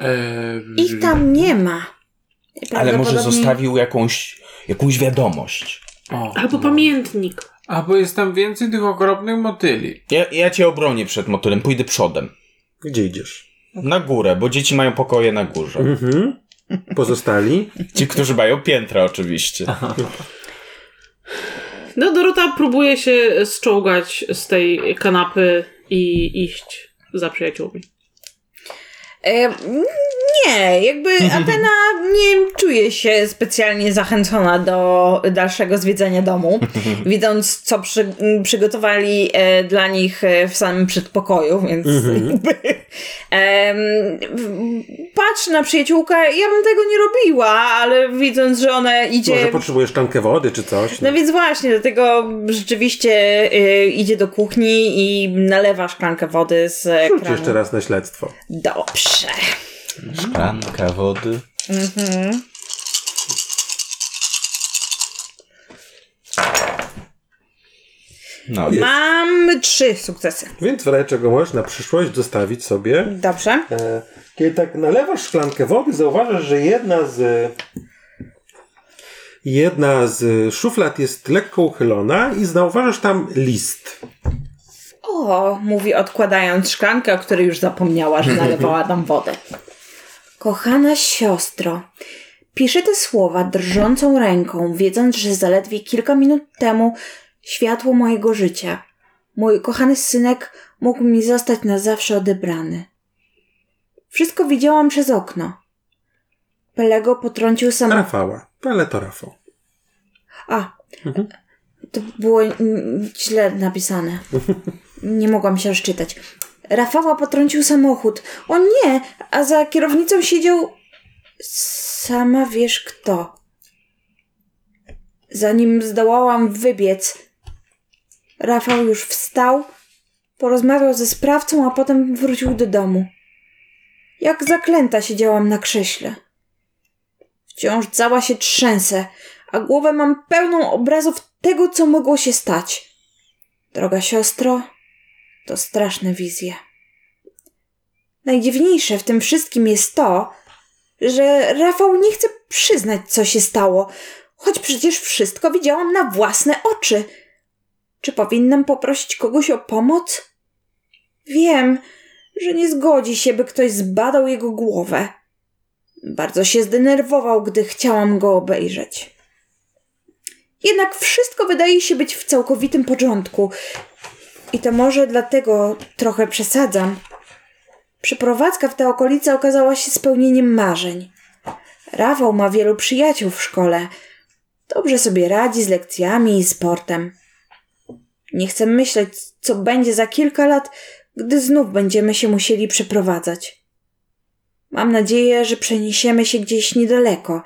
Eee, Ich tam nie ma. Ale może Prawdopodobnie- zostawił jakąś, jakąś wiadomość. O, Albo pamiętnik. Albo jest tam więcej tych okropnych motyli. Ja, ja cię obronię przed motylem, pójdę przodem. Gdzie idziesz? Na górę, bo dzieci mają pokoje na górze. Mhm. Pozostali? Ci, którzy mają piętra oczywiście. No, Dorota próbuje się zczołgać z tej kanapy i iść za przyjaciółmi. E, nie, <laughs> jakby Atena nie czuje się specjalnie zachęcona do dalszego zwiedzania <laughs> domu, widząc co przy, m, przygotowali e, dla nich e, w samym przedpokoju, więc Mhm. <laughs> jakby, em, w- patrzy na przyjaciółkę, ja bym tego nie robiła, ale widząc, że ona idzie... Może potrzebujesz szklankę wody czy coś? No więc właśnie, dlatego rzeczywiście y, idzie do kuchni i nalewa szklankę wody z e, Rzuć kranu. jeszcze raz na śledztwo. Dobrze. Szklanka wody. No, jest. Mam trzy sukcesy. Więc w razie czego możesz na przyszłość zostawić sobie. Dobrze. E, Kiedy tak nalewasz szklankę wody, zauważasz, że jedna z jedna z szuflad jest lekko uchylona i zauważasz tam list. O, mówi odkładając szklankę, o której już zapomniała, że nalewała <laughs> tam wodę. Kochana siostro, piszę te słowa drżącą ręką, wiedząc, że zaledwie kilka minut temu światło mojego życia, mój kochany synek mógł mi zostać na zawsze odebrany. Wszystko widziałam przez okno. Pelego potrącił sam. Rafała. Ale to Rafał. A, to było mm, źle napisane. Nie mogłam się rozczytać. Rafała potrącił samochód. O nie, a za kierownicą siedział. Sama wiesz kto. Zanim zdołałam wybiec, Rafał już wstał, porozmawiał ze sprawcą, a potem wrócił do domu. Jak zaklęta siedziałam na krześle. Wciąż cała się trzęsę, a głowę mam pełną obrazów tego, co mogło się stać. Droga siostro, to straszne wizje. Najdziwniejsze w tym wszystkim jest to, że Rafał nie chce przyznać, co się stało, choć przecież wszystko widziałam na własne oczy. Czy powinnam poprosić kogoś o pomoc? Wiem, że nie zgodzi się, by ktoś zbadał jego głowę. Bardzo się zdenerwował, gdy chciałam go obejrzeć. Jednak wszystko wydaje się być w całkowitym porządku. I to może dlatego trochę przesadzam. Przeprowadzka w te okolice okazała się spełnieniem marzeń. Rafał ma wielu przyjaciół w szkole. Dobrze sobie radzi z lekcjami i sportem. Nie chcę myśleć, co będzie za kilka lat, gdy znów będziemy się musieli przeprowadzać. Mam nadzieję, że przeniesiemy się gdzieś niedaleko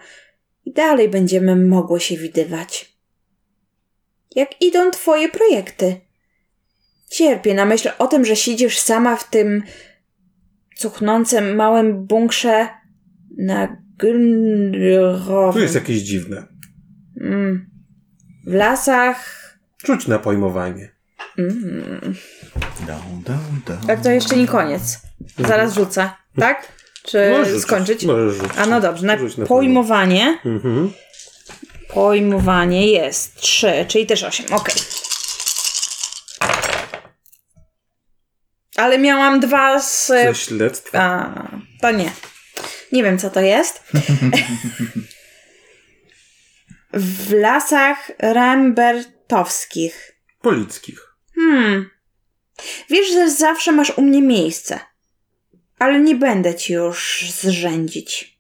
i dalej będziemy mogły się widywać. Jak idą twoje projekty? Cierpię na myśl o tym, że siedzisz sama w tym cuchnącym małym bunkrze na Tu jest Gynrowym. jakieś dziwne. Mm. W lasach Rzuć na pojmowanie. Mm. Dum, dum, dum. Tak, to jeszcze nie koniec. Zaraz rzucę, tak? Czy rzucić, skończyć? Możesz rzucić. A no dobrze, na Rzuć na pojmowanie. Mhm. Pojmowanie jest 3, czyli też 8, okej. Ale miałam dwa z... Ze śledztwa. A, to nie. Nie wiem, co to <laughs> jest. w lasach Rembertowskich. Polickich. Hmm. Wiesz, że zawsze masz u mnie miejsce. Ale nie będę ci już zrzędzić.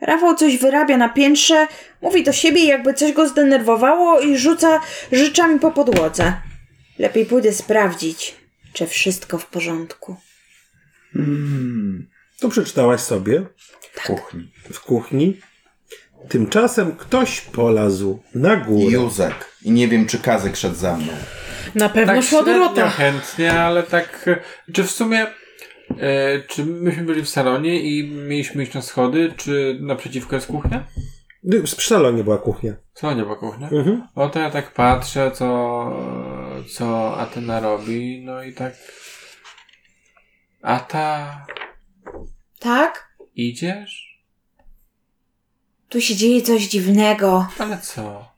Rafał coś wyrabia na piętrze, mówi do siebie, jakby coś go zdenerwowało i rzuca rzeczami po podłodze. Lepiej pójdę sprawdzić, czy wszystko w porządku. To przeczytałaś sobie w kuchni. w kuchni. Tymczasem ktoś polazł na górę. Józek. I nie wiem, czy Kazek szedł za mną. Na pewno tak szła średnio Dorota. chętnie, ale tak... e, Czy w sumie... E, czy myśmy byli w salonie i mieliśmy iść na schody, czy naprzeciwko jest kuchnia? Y, W salonie była kuchnia. W salonie była kuchnia? O to ja tak patrzę, co, co Atena robi, no i tak... Ata, Tak? idziesz? Tu się dzieje coś dziwnego. Ale co?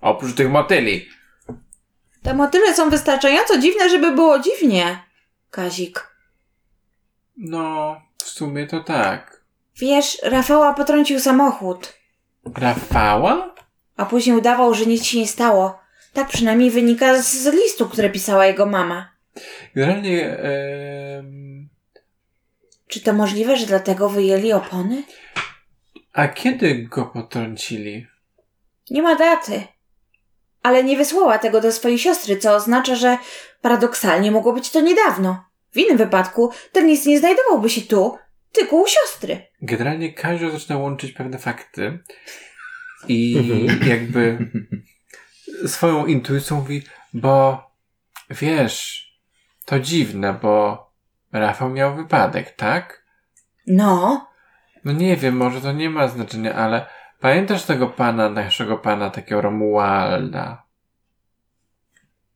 Oprócz tych motyli. Te motyle są wystarczająco dziwne, żeby było dziwnie. Kazik. No, w sumie to tak. Wiesz, Rafała potrącił samochód, Rafała? a później udawał, że nic się nie stało. Tak przynajmniej wynika z, z listu, który pisała jego mama. Generalnie em, Czy to możliwe, że dlatego wyjęli opony? A kiedy go potrącili? Nie ma daty. Ale nie wysłała tego do swojej siostry, co oznacza, że paradoksalnie mogło być to niedawno. W innym wypadku ten list nie znajdowałby się tu, tylko u siostry. Generalnie Kazio zaczyna łączyć pewne fakty i jakby swoją intuicją mówi, bo wiesz, to dziwne, bo Rafał miał wypadek, tak? No, No nie wiem, może to nie ma znaczenia, ale pamiętasz tego pana, naszego pana, takiego Romualda?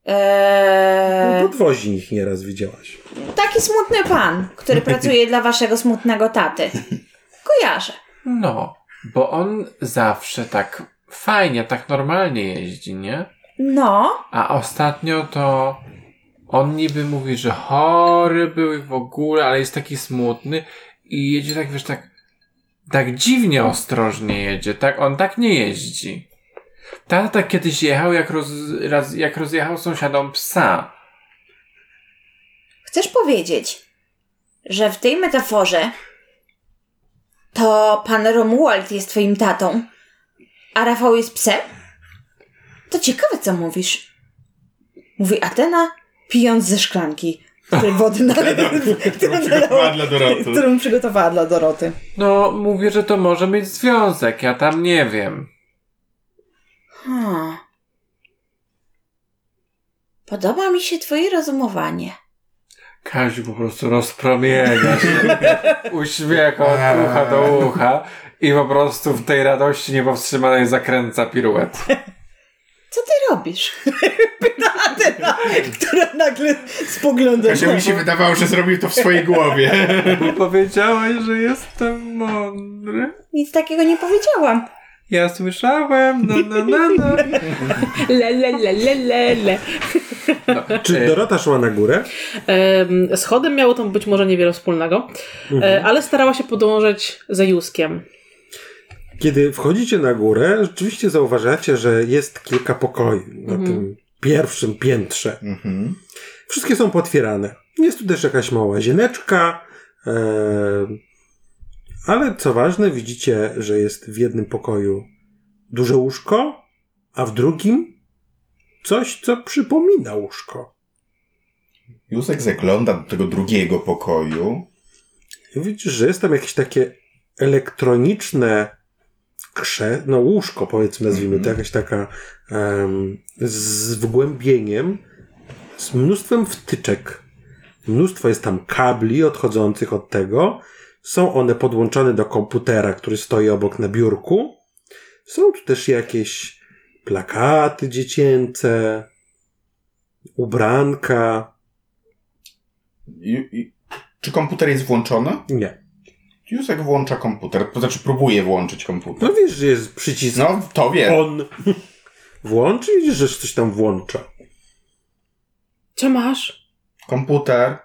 E. eee, Podwoźnik No, nieraz widziałaś. taki smutny pan, który pracuje dla waszego smutnego taty. Kojarzę. No, bo on zawsze tak fajnie, tak normalnie jeździ, nie? No, A ostatnio to on niby mówi, że chory był i w ogóle, ale jest taki smutny i jedzie tak, wiesz, tak, tak dziwnie ostrożnie jedzie, tak, on tak nie jeździ. Tata tak kiedyś jechał, jak, roz, raz, jak rozjechał sąsiadom psa. chcesz powiedzieć, że w tej metaforze to pan Romuald jest twoim tatą, a Rafał jest psem? To ciekawe, co mówisz. Mówi Atena, pijąc ze szklanki, której wody <laughs> na, którą, Przygotowała dla Doroty. którą przygotowała dla Doroty. No, mówię, że to może mieć związek, ja tam nie wiem. Hmm. Podoba mi się twoje rozumowanie. Kaziu po prostu rozpromienia się uśmiecha od ucha do ucha i po prostu w tej radości niepowstrzymanej zakręca piruet. Co ty robisz? Atena, która nagle spogląda Kasia mi się wydawało, że zrobił to w swojej głowie. Bo powiedziałeś, że jestem mądry. Nic takiego nie powiedziałam. Ja słyszałem, no no no no. Le, le, le, le, le, le. Czy E, Dorota szła na górę? Em, Z chodem miało tam być może niewiele wspólnego, e, ale starała się podążać za Józkiem. Kiedy wchodzicie na górę, rzeczywiście zauważacie, że jest kilka pokoi na tym pierwszym piętrze. Mhm. Wszystkie są potwierane. Jest tu też jakaś mała łazieneczka, e, ale co ważne, widzicie, że jest w jednym pokoju duże łóżko, a w drugim coś, co przypomina łóżko. Józek zagląda do tego drugiego pokoju. I widzisz, że jest tam jakieś takie elektroniczne krze, no łóżko powiedzmy nazwijmy to, jakaś taka em, z wgłębieniem, z mnóstwem wtyczek. Mnóstwo jest tam kabli odchodzących od tego. Są one podłączone do komputera, który stoi obok na biurku. Są tu też jakieś plakaty dziecięce, ubranka. I, i, czy komputer jest włączony? Nie. Józek włącza komputer, to znaczy próbuje włączyć No komputer. wiesz, że jest przycisk No, to wie. on włączy i widzisz, że coś tam włącza. Co masz? Komputer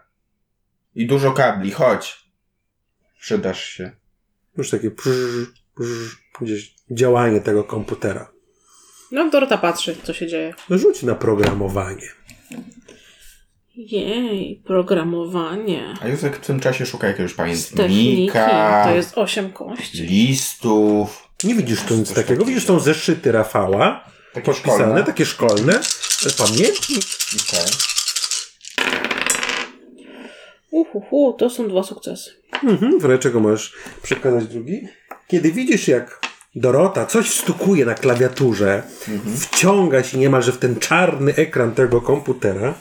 i dużo kabli, chodź. Przydasz się. Już takie prz, prz, gdzieś działanie tego komputera. No Dorota patrzy, co się dzieje. No Rzuć na programowanie. Jej, programowanie. A Józek w tym czasie szuka jakiegoś Z techniki. pamiętnika, To jest osiem kości. listów. Nie widzisz tu nic Coś takiego. takiego. Widzisz tą zeszyty Rafała, Takie podpisane, szkolne. takie szkolne. E, Pamiętnik. Okej. Uhuhu, to są dwa sukcesy. Mhm, w czego możesz przekazać drugi? Kiedy widzisz, jak Dorota coś stukuje na klawiaturze, wciąga się niemalże w ten czarny ekran tego komputera,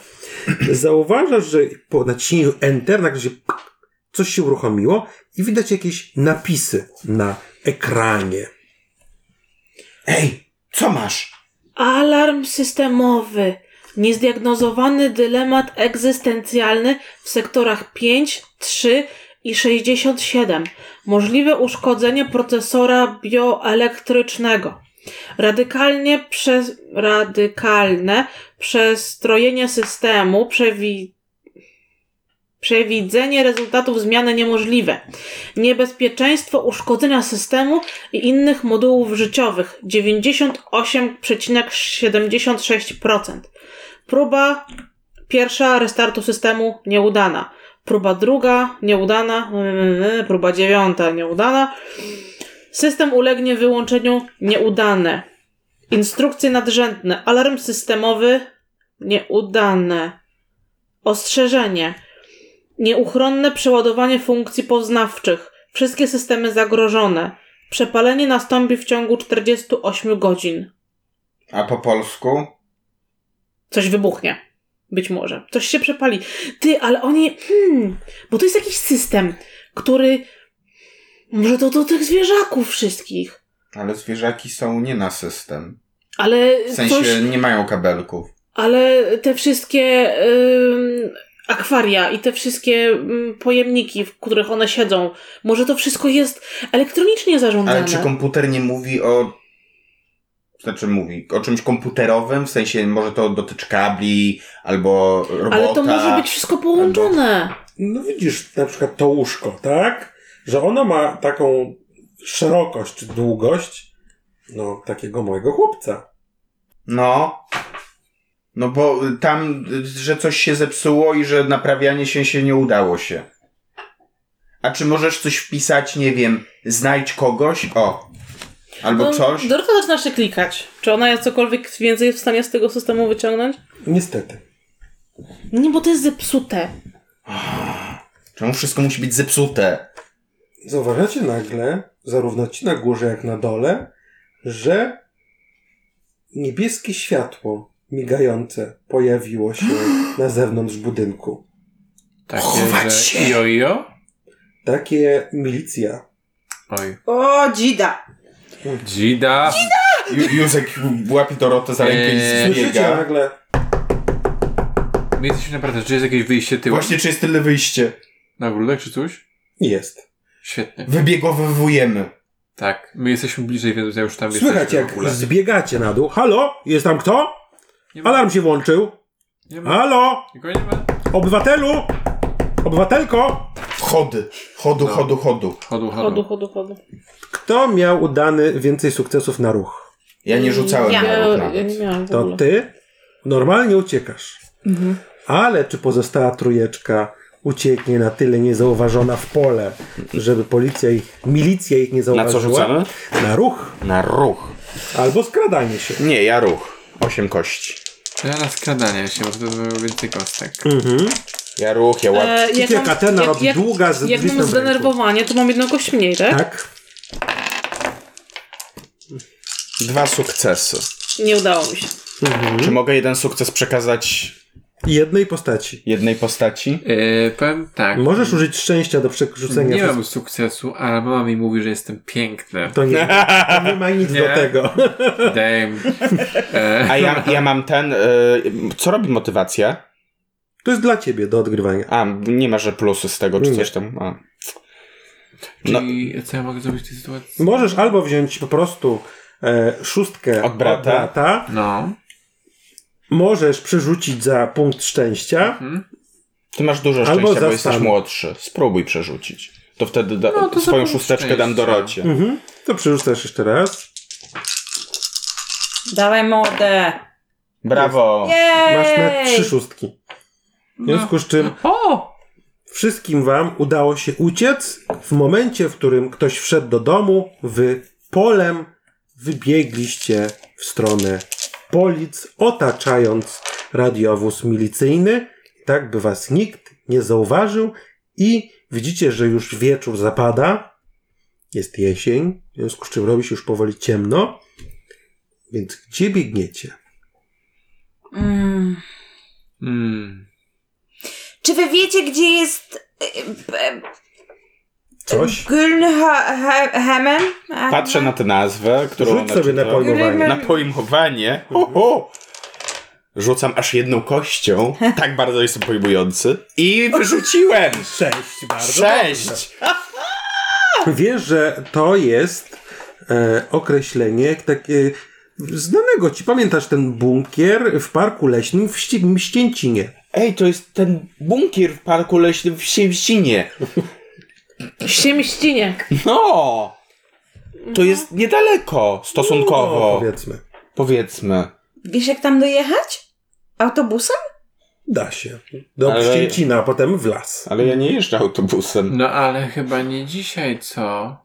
zauważasz, że po naciśnięciu Enter nagle się pk, coś się uruchomiło i widać jakieś napisy na ekranie. Ej, co masz? Alarm systemowy. Niezdiagnozowany dylemat egzystencjalny w sektorach 5, 3 i 67. Możliwe uszkodzenie procesora bioelektrycznego. Radykalnie przez, radykalne przestrojenie systemu, przewi, przewidzenie rezultatów zmiany niemożliwe. Niebezpieczeństwo uszkodzenia systemu i innych modułów życiowych 98,76%. Próba pierwsza restartu systemu nieudana. Próba druga nieudana. Yy, Próba dziewiąta nieudana. System ulegnie wyłączeniu nieudane. Instrukcje nadrzędne. Alarm systemowy nieudane. Ostrzeżenie. Nieuchronne przeładowanie funkcji poznawczych. Wszystkie systemy zagrożone. Przepalenie nastąpi w ciągu 48 godzin. A po polsku? Coś wybuchnie. Być może. Coś się przepali. Ty, ale oni. Hmm, bo to jest jakiś system, który. Może to do tych zwierzaków wszystkich. Ale zwierzaki są nie na system. Ale W sensie coś. nie mają kabelków. Ale te wszystkie ym, akwaria i te wszystkie ym, pojemniki, w których one siedzą, może to wszystko jest elektronicznie zarządzane. Ale czy komputer nie mówi o... Znaczy mówi o czymś komputerowym, w sensie może to dotyczy kabli, albo robota. Ale to może być wszystko połączone. No widzisz na przykład to łóżko, tak? Że ono ma taką szerokość czy długość no, takiego mojego chłopca. No. No bo y, tam, y, że coś się zepsuło i że naprawianie się się nie udało się. A czy możesz coś wpisać, nie wiem, znajdź kogoś? O. Albo No, coś? Dorota zaczyna się klikać. Czy ona jest cokolwiek więcej jest w stanie z tego systemu wyciągnąć? Niestety. Nie, bo to jest zepsute. Czemu wszystko musi być zepsute? Zauważacie nagle, zarówno ci na górze, jak na dole, że niebieskie światło migające pojawiło <gasps> się na zewnątrz budynku. Takie, że jojo? Takie milicja. Oj. O, dzida! Dzida! Ju- Józek łapie Dorotę za rękę Eee. i Słyszycie zbiega. nagle, My jesteśmy naprawdę, czy jest jakieś wyjście tyłem? Właśnie czy jest tyle wyjście? Na grudek czy coś? jest. Świetnie. Wybiegowywujemy. Tak, my jesteśmy bliżej, więc ja już tam Słychać jesteśmy jak zbiegacie na dół. Halo? Jest tam kto? Nie ma, Alarm się włączył. nie ma, Halo? nikogo nie ma. Obywatelu? Obywatelko? Chody. Chodu, chodu, chodu. Chodu, chodu. Chodu, chodu, chodu. Kto miał udany więcej sukcesów na ruch? Ja nie rzucałem ja, na ja ruch nawet. nie miałam w To ogóle. ty normalnie uciekasz. Mhm. Ale czy pozostała trójeczka ucieknie na tyle niezauważona w pole, żeby policja ich, milicja ich nie Na co zauważyła? rzucamy? Na ruch Na ruch. albo skradanie się. Nie, ja ruch. Osiem kości. Ja na skradanie się, bo to było więcej kostek. Ja ruch, ja łap... E, jak Ucieka, mam- ten jak- robi jak- długa z Jak listem w mam ręku. zdenerwowanie, to mam jedną kość mniej, tak? Tak? Dwa sukcesy. Nie udało mi się. Czy mogę jeden sukces przekazać Jednej postaci. jednej postaci? E, powiem tak. Możesz użyć szczęścia do przerzucenia. Nie wszystkich- mam sukcesu, ale mama mi mówi, że jestem piękny. To nie, to nie ma nic <laughs> Nie. do tego. Damn. E, A ja, ja mam ten... y, co robi motywacja? To jest dla ciebie do odgrywania. A, nie ma, że plusy z tego, czy Nie. coś tam. A. No. czyli co ja mogę zrobić w tej sytuacji? Możesz albo wziąć po prostu e, szóstkę Od brata. No. możesz przerzucić za punkt szczęścia. Mhm. Ty masz dużo Albo szczęścia, bo zastan- jesteś młodszy. Spróbuj przerzucić. To wtedy da, No, to za swoją punkt szósteczkę dam szczęścia. Dorocie. Mhm. To przerzucasz jeszcze raz. Dawaj modę! Brawo! Jej! Masz na trzy szóstki. W związku z czym O! wszystkim wam udało się uciec w momencie, w którym ktoś wszedł do domu, wy polem wybiegliście w stronę polic, otaczając radiowóz milicyjny, tak by was nikt nie zauważył i widzicie, że już wieczór zapada, jest jesień, w związku z czym robi się już powoli ciemno, więc gdzie biegniecie? Mm. Hmm. Mm. Czy wy wiecie, gdzie jest... Coś? Gylnhamen? Patrzę na tę nazwę, którą Rzuć ona sobie czyta. na pojmowanie. Na pojmowanie. Ho, ho. Rzucam aż jedną <laughs> kością. Tak bardzo jestem pojmujący. I wyrzuciłem! Sześć bardzo. Sześć! Wiesz, że to jest e, określenie takie znanego ci. Pamiętasz ten bunkier w parku leśnym w Ści- Mścięcinie? Ej, to jest ten bunkier w parku leśnym w Siemścinie. Siemścinie. No! To jest niedaleko, stosunkowo, powiedzmy. powiedzmy. Wiesz, jak tam dojechać? Autobusem? Da się. Do Ale- Mścięcina, a potem w las. Ale ja nie jeżdżę autobusem. No ale chyba nie dzisiaj, co?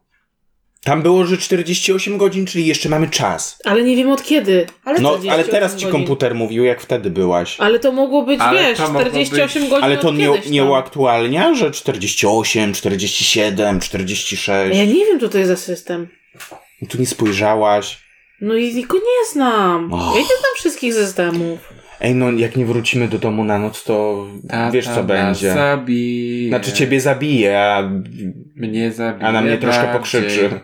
Tam było, że 48 godzin, czyli jeszcze mamy czas. Ale nie wiem od kiedy. Ale no, 48 ale teraz ci godzin. komputer mówił, jak wtedy byłaś. Ale to mogło być, Ale wiesz, to mogło 48 być- godzin Ale to od nie, kiedyś tak. nie tam. uaktualnia, że 48, 47, A 46. Ja nie wiem, co to jest za system. No Tu nie spojrzałaś. No i tylko nie znam. Och. Ja nie znam wszystkich systemów. Ej, no jak nie wrócimy do domu na noc, to Tata wiesz co nas będzie. Zabije. Znaczy ciebie zabije, a, Mnie zabije. a na mnie troszkę bardziej. pokrzyczy.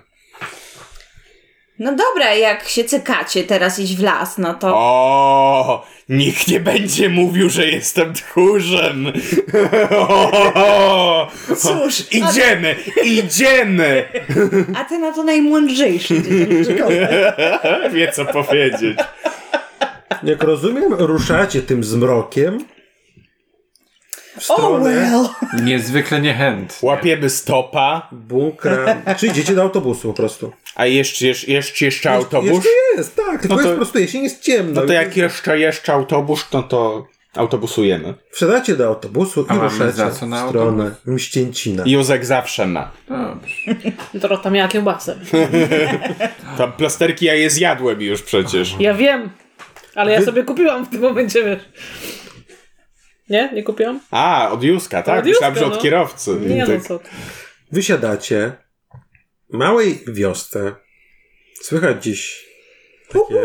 No dobra, jak się cykacie teraz iść w las, no to... O, nikt nie będzie mówił, że jestem tchórzem. <laughs> O, Cóż, idziemy, idziemy. A ty na to najmądrzejszy. Wie co powiedzieć. Jak rozumiem, ruszacie tym zmrokiem w Oh stronę well. Niezwykle niechętnie. Łapiemy stopa, bunkra. Czy idziecie do autobusu po prostu? a jeszcze, jeszcze, jeszcze, jeszcze autobus. Jeszcze jest, tak. Tylko No to- jest po prostu jesień, jest ciemno. No to jak jeszcze, jeszcze autobus, no to autobusujemy. Wsiadacie do autobusu A i mamy ruszacie za w co na stronę Mścięcina. Józek zawsze ma. Dobrze. <laughs> Dorota miała kiełbasę. Tam plasterki ja je zjadłem już przecież. Ja wiem, ale ja sobie kupiłam w tym momencie, wiesz. Nie? Nie kupiłam? A, od Józka, tak? Od Józka, Myślałem, że od no. kierowcy. Nie tak. no co. ty. Wysiadacie w małej wiosce. Słychać dziś takie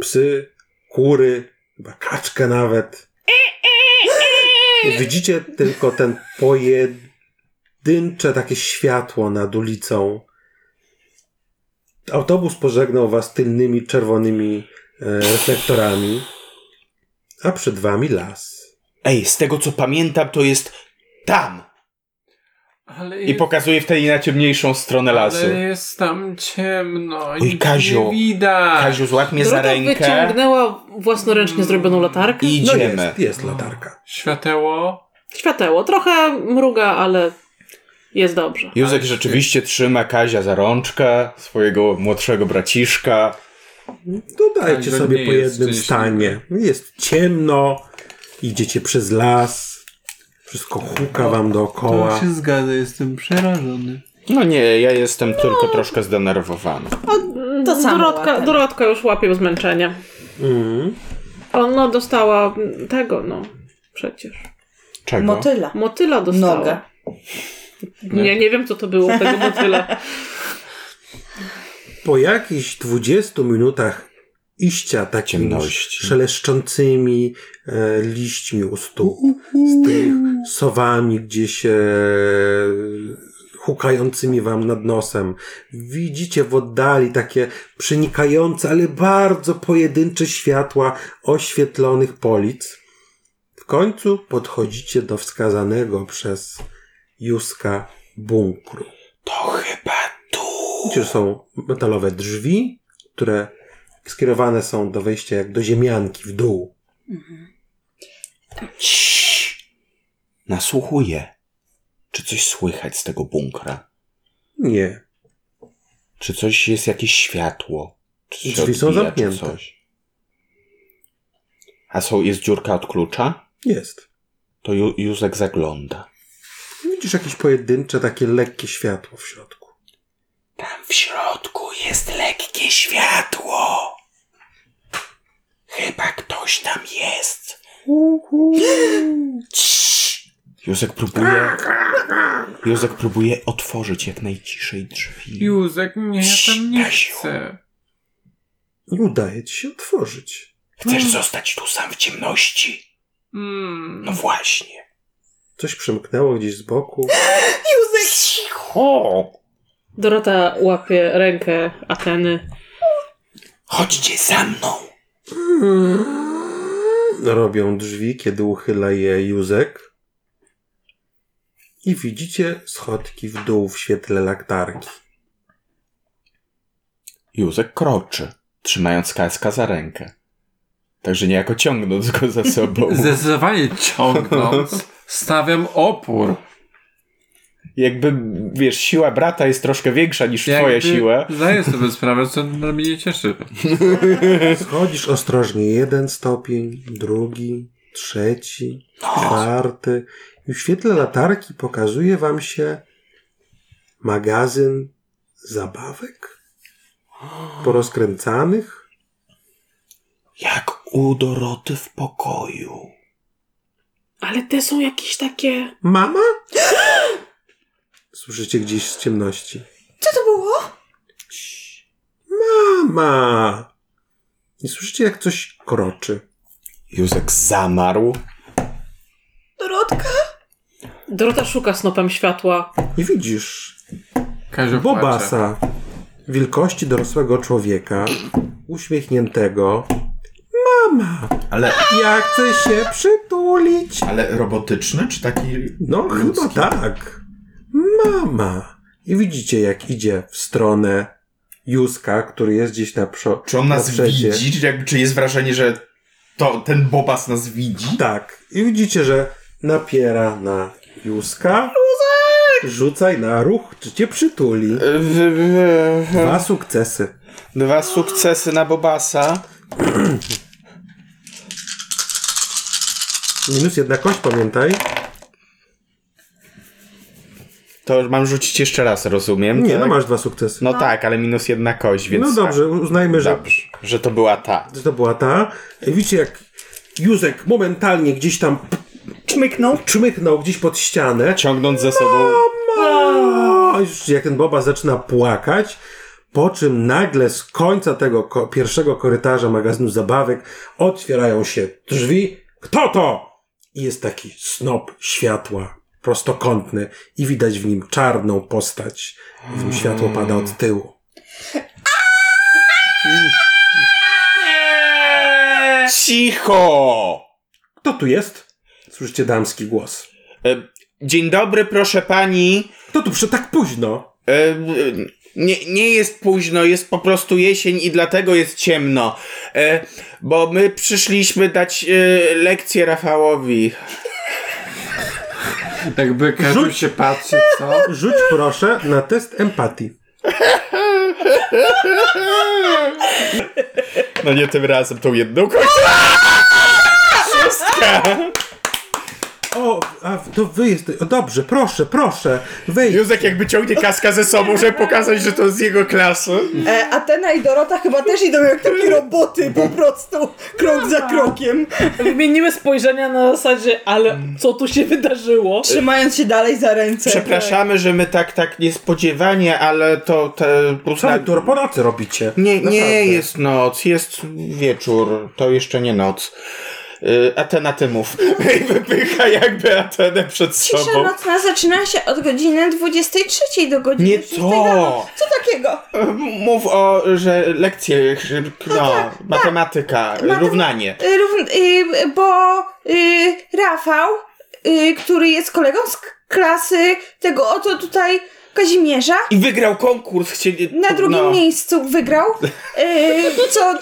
psy, kury, chyba kaczkę nawet. Widzicie tylko ten pojedyncze takie światło nad ulicą. Autobus pożegnał was tylnymi czerwonymi e, reflektorami, a przed wami las. Ej, z tego co pamiętam, to jest tam. Ale I jest, pokazuje w tej najciemniejszą stronę lasu. Ale jest tam ciemno. Oj, nic Kaziu. Nie widać. Kaziu, złap mnie za Dorota rękę wyciągnęła własnoręcznie zrobioną latarkę. i No idziemy. jest, jest latarka. Świateło. Świateło. Trochę mruga, ale jest dobrze. Józek rzeczywiście trzyma Kazia za rączkę, swojego młodszego braciszka. Dodajcie Tak, że sobie nie po jest tak. jednym szczęśliwy. stanie. Jest ciemno, idziecie przez las, wszystko huka wam dookoła. zgadza, jestem przerażony. No nie, ja jestem tylko troszkę zdenerwowany. To samo Dorotka, łatem. Dorotka już łapie zmęczenie. Mm. Ona dostała tego, no. Przecież. Czego? Motyla. Motyla dostała. Nogę. Nie, nie wiem, co to było, tego motyla. Po jakichś 20 minutach iścia takimi Ciemności. szeleszczącymi e, liśćmi u stóp, z tych sowami gdzieś e, hukającymi wam nad nosem. Widzicie w oddali takie przenikające, ale bardzo pojedyncze światła oświetlonych polic. W końcu podchodzicie do wskazanego przez Józka bunkru. To chyba tu. Widzicie, że są metalowe drzwi, które skierowane są do wejścia jak do ziemianki w dół. Ciii. Nasłuchuję. Czy coś słychać z tego bunkra? Nie. Czy coś jest jakieś światło? Czy się Drzwi są odbija, zamknięte. Czy coś? A są, jest dziurka od klucza? Jest. To Ju- Józek zagląda. Widzisz jakieś pojedyncze, takie lekkie światło w środku. Tam w środku jest lekkie światło. Chyba ktoś tam jest. Ciii. Józek próbuje. Józek próbuje otworzyć jak najciszej drzwi. Józek, nie, ja tam nie Stasiu. chcę. Nie udaje ci się otworzyć. Chcesz Mm. zostać tu sam w ciemności? No Mm. właśnie. Coś przemknęło gdzieś z boku. Cicho! Dorota łapie rękę Ateny. Chodźcie za mną. Robią drzwi, kiedy uchyla je Józek. I widzicie schodki w dół w świetle laktarki. Józek kroczy, trzymając kaska za rękę. Także niejako ciągnąc go <laughs> za sobą. Zdecydowanie ciągnąc, stawiam opór. Jakby, wiesz, siła brata jest troszkę większa niż twoja Jakby siła. Zdaję sobie sprawę, co na mnie nie cieszy. Schodzisz ostrożnie. Jeden stopień, drugi, trzeci, czwarty. I w świetle latarki pokazuje wam się magazyn zabawek porozkręcanych. Jak u Doroty w pokoju. Ale te są jakieś takie... Mama? <gasps> Słyszycie gdzieś z ciemności. Co to było? Mama! I słyszycie, jak coś kroczy. Józek zamarł. Dorotka? Dorota szuka snopem światła. I widzisz Każdy płacze. Bobasa wielkości dorosłego człowieka, uśmiechniętego. Mama, Ale, ja chcę się przytulić. ale robotyczny, czy taki... No, chyba Ludzki. tak. Mama. I widzicie, jak idzie w stronę Józka, który jest gdzieś na przodzie. Czy on nas widzi? Czy, jakby, czy jest wrażenie, że to, ten Bobas nas widzi? Tak. I widzicie, że napiera na Józka. Rzucaj na ruch, czy cię przytuli. Dwa sukcesy. Dwa sukcesy na Bobasa. Minus jedna kość, pamiętaj. To mam rzucić jeszcze raz, rozumiem? Nie, tak? no masz dwa sukcesy. No tak, ale minus jedna kość, więc... tak. No dobrze, uznajmy, że, Dobrze, że to była ta. że to była ta. Widzicie, jak Józek momentalnie gdzieś tam czmyknął, czmyknął gdzieś pod ścianę. Ciągnąc za sobą... Mama! Już jak ten Boba zaczyna płakać, po czym nagle z końca tego ko- pierwszego korytarza magazynu zabawek otwierają się drzwi. Kto to? I jest taki snop światła prostokątny i widać w nim czarną postać. W nim światło pada od tyłu. Cicho! Kto tu jest? Słyszycie damski głos. E, Dzień dobry, proszę pani. Kto tu przyszedł tak późno? E, m, Nie, nie jest późno, jest po prostu jesień i dlatego jest ciemno. E, Bo my przyszliśmy dać e, lekcję Rafałowi. Jakby każdy Tak się patrzy, co? Rzuć proszę na test empatii. No nie tym razem, tą jedną kością. O, a to wy jesteś. O, dobrze, proszę, proszę. Wejdź. Józek jakby ciągnie kaska ze sobą, żeby pokazać, że to z jego klasy. E, Atena i Dorota chyba też idą jak takie roboty po prostu, krok za krokiem. Wymienimy spojrzenia na zasadzie, ale co tu się wydarzyło? Trzymając się dalej za ręce. Przepraszamy, że my tak, tak niespodziewanie, ale to... Te, Co wy tu po nocy robicie? tak. Nie, Naprawdę. nie jest noc, jest wieczór, to jeszcze nie noc. Yy, Atena ty mów. <laughs> I wypycha jakby Atenę przed Cisza sobą. nocna zaczyna się od godziny 23 do godziny Nie 6 to! rano. Co takiego? Yy, Mów o, że lekcje, że- no, tak, matematyka, równanie. Y, Równ, y, bo y, Rafał, y, który jest kolegą z k- klasy tego oto tutaj Kazimierza, I wygrał konkurs, chcieli... na drugim no. miejscu wygrał, <laughs> y, co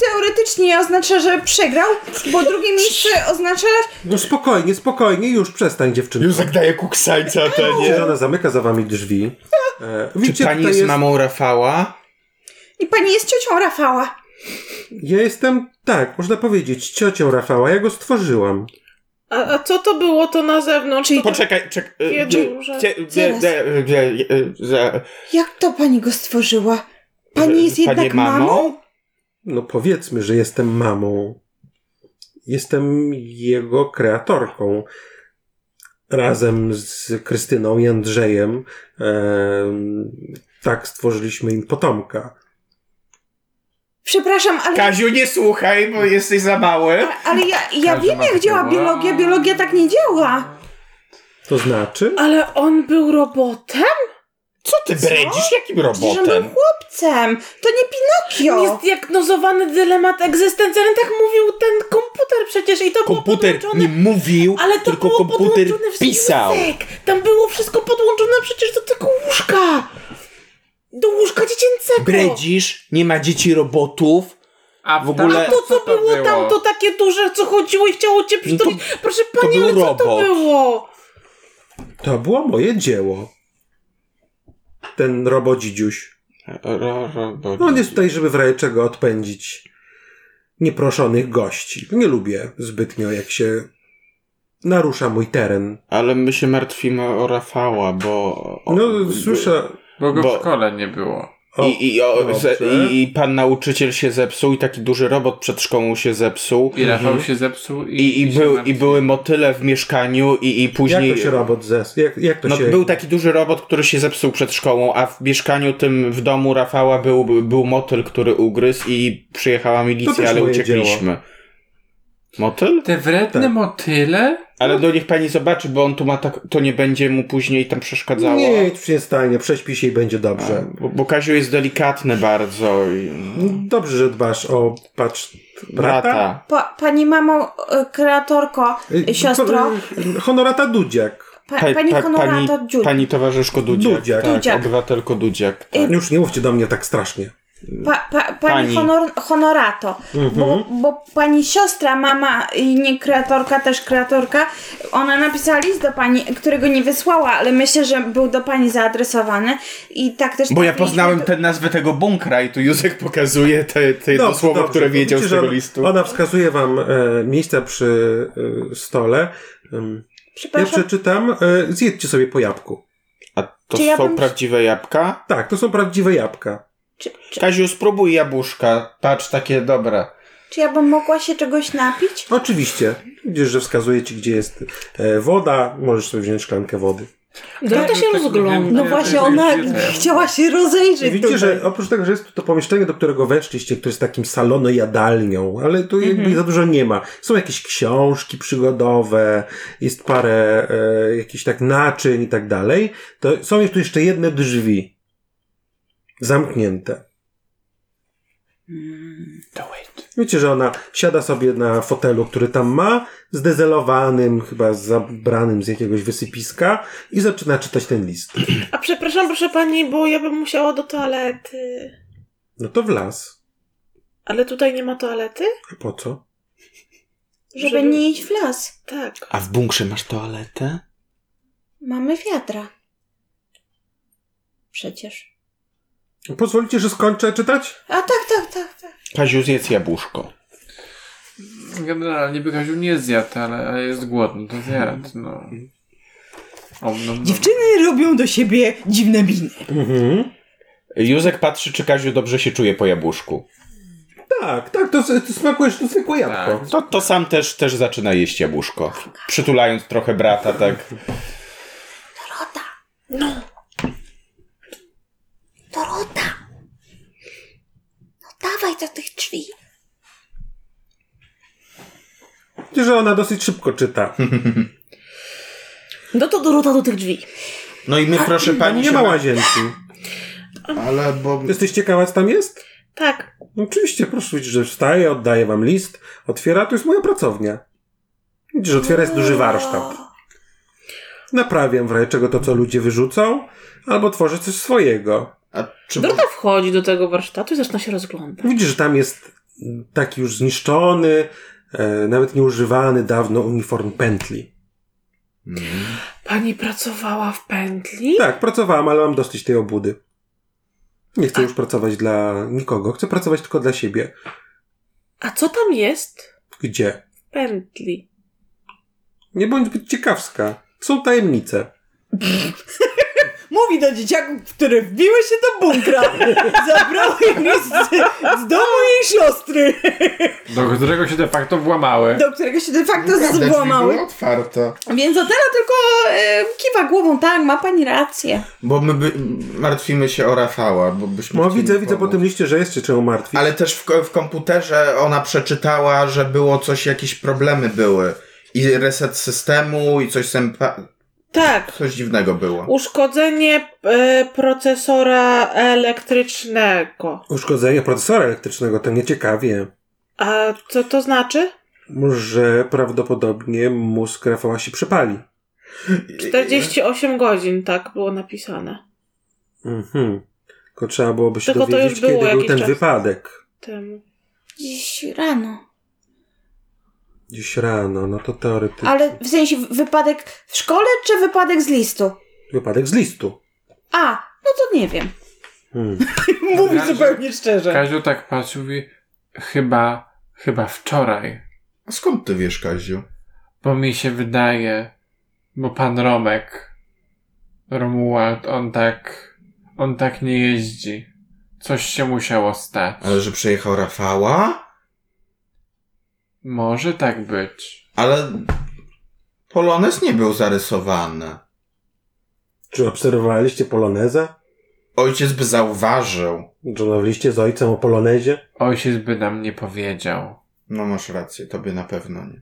teoretycznie oznacza, że przegrał, bo drugie miejsce oznacza, No spokojnie, spokojnie, już przestań dziewczyny. Józek daje kuksańca Atenie. Ona zamyka za wami drzwi. E, Czy widzicie, pani tutaj jest mamą Rafała? i pani jest ciocią Rafała. Ja jestem, tak, można powiedzieć, ciocią Rafała. Ja go stworzyłam. A, a co to było to na zewnątrz? Czyli to... Poczekaj, czek... e, Kiedy gdzie- już? gdzie- gdzie- Zaraz. gdzie- gdzie- gdzie- za- Jak to pani go stworzyła? Pani jest Panie jednak mamą? No powiedzmy, że jestem mamą. Jestem jego kreatorką. Razem z Krystyną i Andrzejem em, tak stworzyliśmy im potomka. Przepraszam, ale, Kaziu, nie słuchaj, bo jesteś za mały. ale ja, ja Każdy wiem ma jak takiego- działa biologia. Biologia tak nie działa. To znaczy? Ale on był robotem? Co ty bredzisz? Jakim Przecież on był robotem? chłopcem. To nie Pinokio. Niezdiagnozowany dylemat egzystencjalny, tak mówił ten komputer przecież i to Komputer było podłączone... nie mówił, Ale to tylko było komputer podłączone w pisał. Spisek. Tam było wszystko podłączone przecież do tego łóżka. Do łóżka dziecięcego. Bredzisz, nie ma dzieci robotów. A w ogóle- A to, co było, tam, to takie duże, co chodziło i chciało cię przytulić. Proszę pani, No był ale co to robot. było? To było moje dzieło. Ten robodzidziuś. Ro- robot. No on jest tutaj, żeby w razie czego odpędzić nieproszonych gości. Nie lubię zbytnio, jak się narusza mój teren. Ale my się martwimy o Rafała, bo... o- No, słyszę, Bo go Bo- w szkole nie było. O, I, i, o, dobrze. ze, i, I pan nauczyciel się zepsuł, i taki duży robot przed szkołą się zepsuł. I Rafał się zepsuł i... Mhm. I, i, się był, I martwił. były motyle w mieszkaniu, i, i później. Jak to się robot zes... Jak, jak to no, się... Był taki duży robot, który się zepsuł przed szkołą, a w mieszkaniu tym w domu Rafała był, był motyl, który ugryzł, i przyjechała To milicja, też ale moje uciekliśmy. Motyl? Te wredne Tak. motyle? Ale do nich pani zobaczy, bo on tu ma tak. To nie będzie mu później tam przeszkadzało. Nie, nic się nie stanie, prześpi się i będzie A, dobrze. Bo, bo Kaziu jest delikatny bardzo. I... Dobrze, że dbasz o patrz... brata. Brata. Pa, pani mamo, e, kreatorko, e, Y, siostro, po- y, Honorata Dudziak. pa, pani pani, honorator Dziur. pani towarzyszko Dudziak. Dudziak. Tak, Dudziak. obywatelko Dudziak. Tak. Już nie mówcie do mnie tak strasznie. Pa, pa, pani Pani. Honor, honorato, bo, bo pani siostra, mama i nie kreatorka, też kreatorka, ona napisała list do pani, którego nie wysłała, ale myślę, że był do pani zaadresowany i tak też... Bo ja trafiliśmy poznałem do- tę nazwę tego bunkra i tu Józek pokazuje te, te jedno Dobrze, słowo, dobrze. które wiedział Widzicie, z tego że on- listu. Ona wskazuje wam e, miejsca przy e, stole. Ym, ja Przepraszam, przeczytam. E, zjedźcie sobie po jabłku. A to Czy ja są bym- prawdziwe jabłka? Tak, to są prawdziwe jabłka. czy, czy, Kaziu, spróbuj jabłuszka. Patrz, takie dobre. czy ja bym mogła się czegoś napić? Oczywiście. Widzisz, że wskazuje ci, gdzie jest e, woda. Możesz sobie wziąć szklankę wody. Dorota No się tak rozgląda. powiem. No Ja właśnie, też ona tak wiem. chciała się rozejrzeć Widzicie, tutaj. że oprócz tego, że jest tu to pomieszczenie, do którego weszliście, które jest takim salonojadalnią, ale tu jakby za dużo nie ma. Są jakieś książki przygodowe, jest parę e, jakichś tak naczyń i tak dalej. To są tu jeszcze jedne drzwi. Zamknięte. Wiecie, że ona siada sobie na fotelu, który tam ma, zdezelowanym, chyba zabranym z jakiegoś wysypiska i zaczyna czytać ten list. A przepraszam, proszę pani, bo ja bym musiała do toalety. No to w las. Ale tutaj nie ma toalety? A po co? Żeby, nie iść w las. Tak. A w bunkrze masz toaletę? Mamy wiatra. Przecież. Pozwolicie, że skończę czytać? A tak, tak, tak, tak. Kaziu, zjedz jabłuszko. Generalnie by Kaziu nie zjadł, ale, ale jest głodny, to zjadł, no. O, no, no. Dziewczyny robią do siebie dziwne miny. Józek patrzy, czy Kaziu dobrze się czuje po jabłuszku. Tak, tak, to, to smakujesz to zwykłe jabłko. To, to sam też, też zaczyna jeść jabłuszko. Przytulając trochę brata, tak. Dorota! No dawaj do tych drzwi. Widzicie, że ona dosyć szybko czyta. No to Dorota do tych drzwi. No i my, proszę pani, Nie się ma na- łazienki. Ale bo... Jesteś ciekawa, co tam jest? Tak. No Oczywiście, proszę, widzisz, że wstaje, oddaje wam list, otwiera, to jest moja pracownia. Widzisz, że otwiera jest duży warsztat. Naprawiam w razie czego to, co ludzie wyrzucą, albo tworzę coś swojego. A czy... Dorota wchodzi do tego warsztatu i zaczyna się rozglądać. Widzisz, że tam jest taki już zniszczony, e, nawet nieużywany dawno uniform pętli. Pani pracowała w pętli? Tak, pracowałam, ale mam dosyć tej obudy. Nie chcę już pracować dla nikogo, chcę pracować tylko dla siebie. A co tam jest Gdzie? w pętli? Nie bądź zbyt ciekawska. Są tajemnice. Mówi do dzieciaków, które wbiły się do bunkra. Zabrały ich z, z domu jej siostry, Do którego się de facto włamały. do którego się de facto Prawda, drzwi były złamały. otwarte. Więc Otela tylko e, kiwa głową, tak, ma pani rację. Bo my by, martwimy się o Rafała, bo byśmy No chcieli widzę, widzę po pomóc. tym liście, że jest się czemu martwić. Ale też w, ko- w komputerze ona przeczytała, że było coś, jakieś problemy były. I reset systemu, i coś sempa... Tak. Coś dziwnego było. Uszkodzenie e, procesora elektrycznego. Uszkodzenie procesora elektrycznego, to nie ciekawie. A co to znaczy? Że prawdopodobnie mózg Rafała się przepali. 48 godzin, tak było napisane. Mhm. Tylko trzeba byłoby się Tylko to dowiedzieć, już było kiedy był jakiś ten czas. wypadek. Temu. Dziś rano. Dziś rano, no to teoretycznie. Ale w sensie wypadek w szkole czy wypadek z listu? Wypadek z listu. A, no to nie wiem. Hmm. Mówi Kaziu- zupełnie szczerze. Kaziu tak patrzy, mówi, chyba, chyba wczoraj. A skąd ty wiesz, Kaziu? Bo mi się wydaje, bo pan Romek, Romuald, on tak, on tak nie jeździ. Coś się musiało stać. Ale że przejechał Rafała? Może tak być. Ale Polones nie był zarysowany. Czy obserwowaliście Poloneza? Ojciec by zauważył. Rozmawialiście z ojcem o Polonezie? Ojciec by nam nie powiedział. No masz rację, tobie na pewno nie.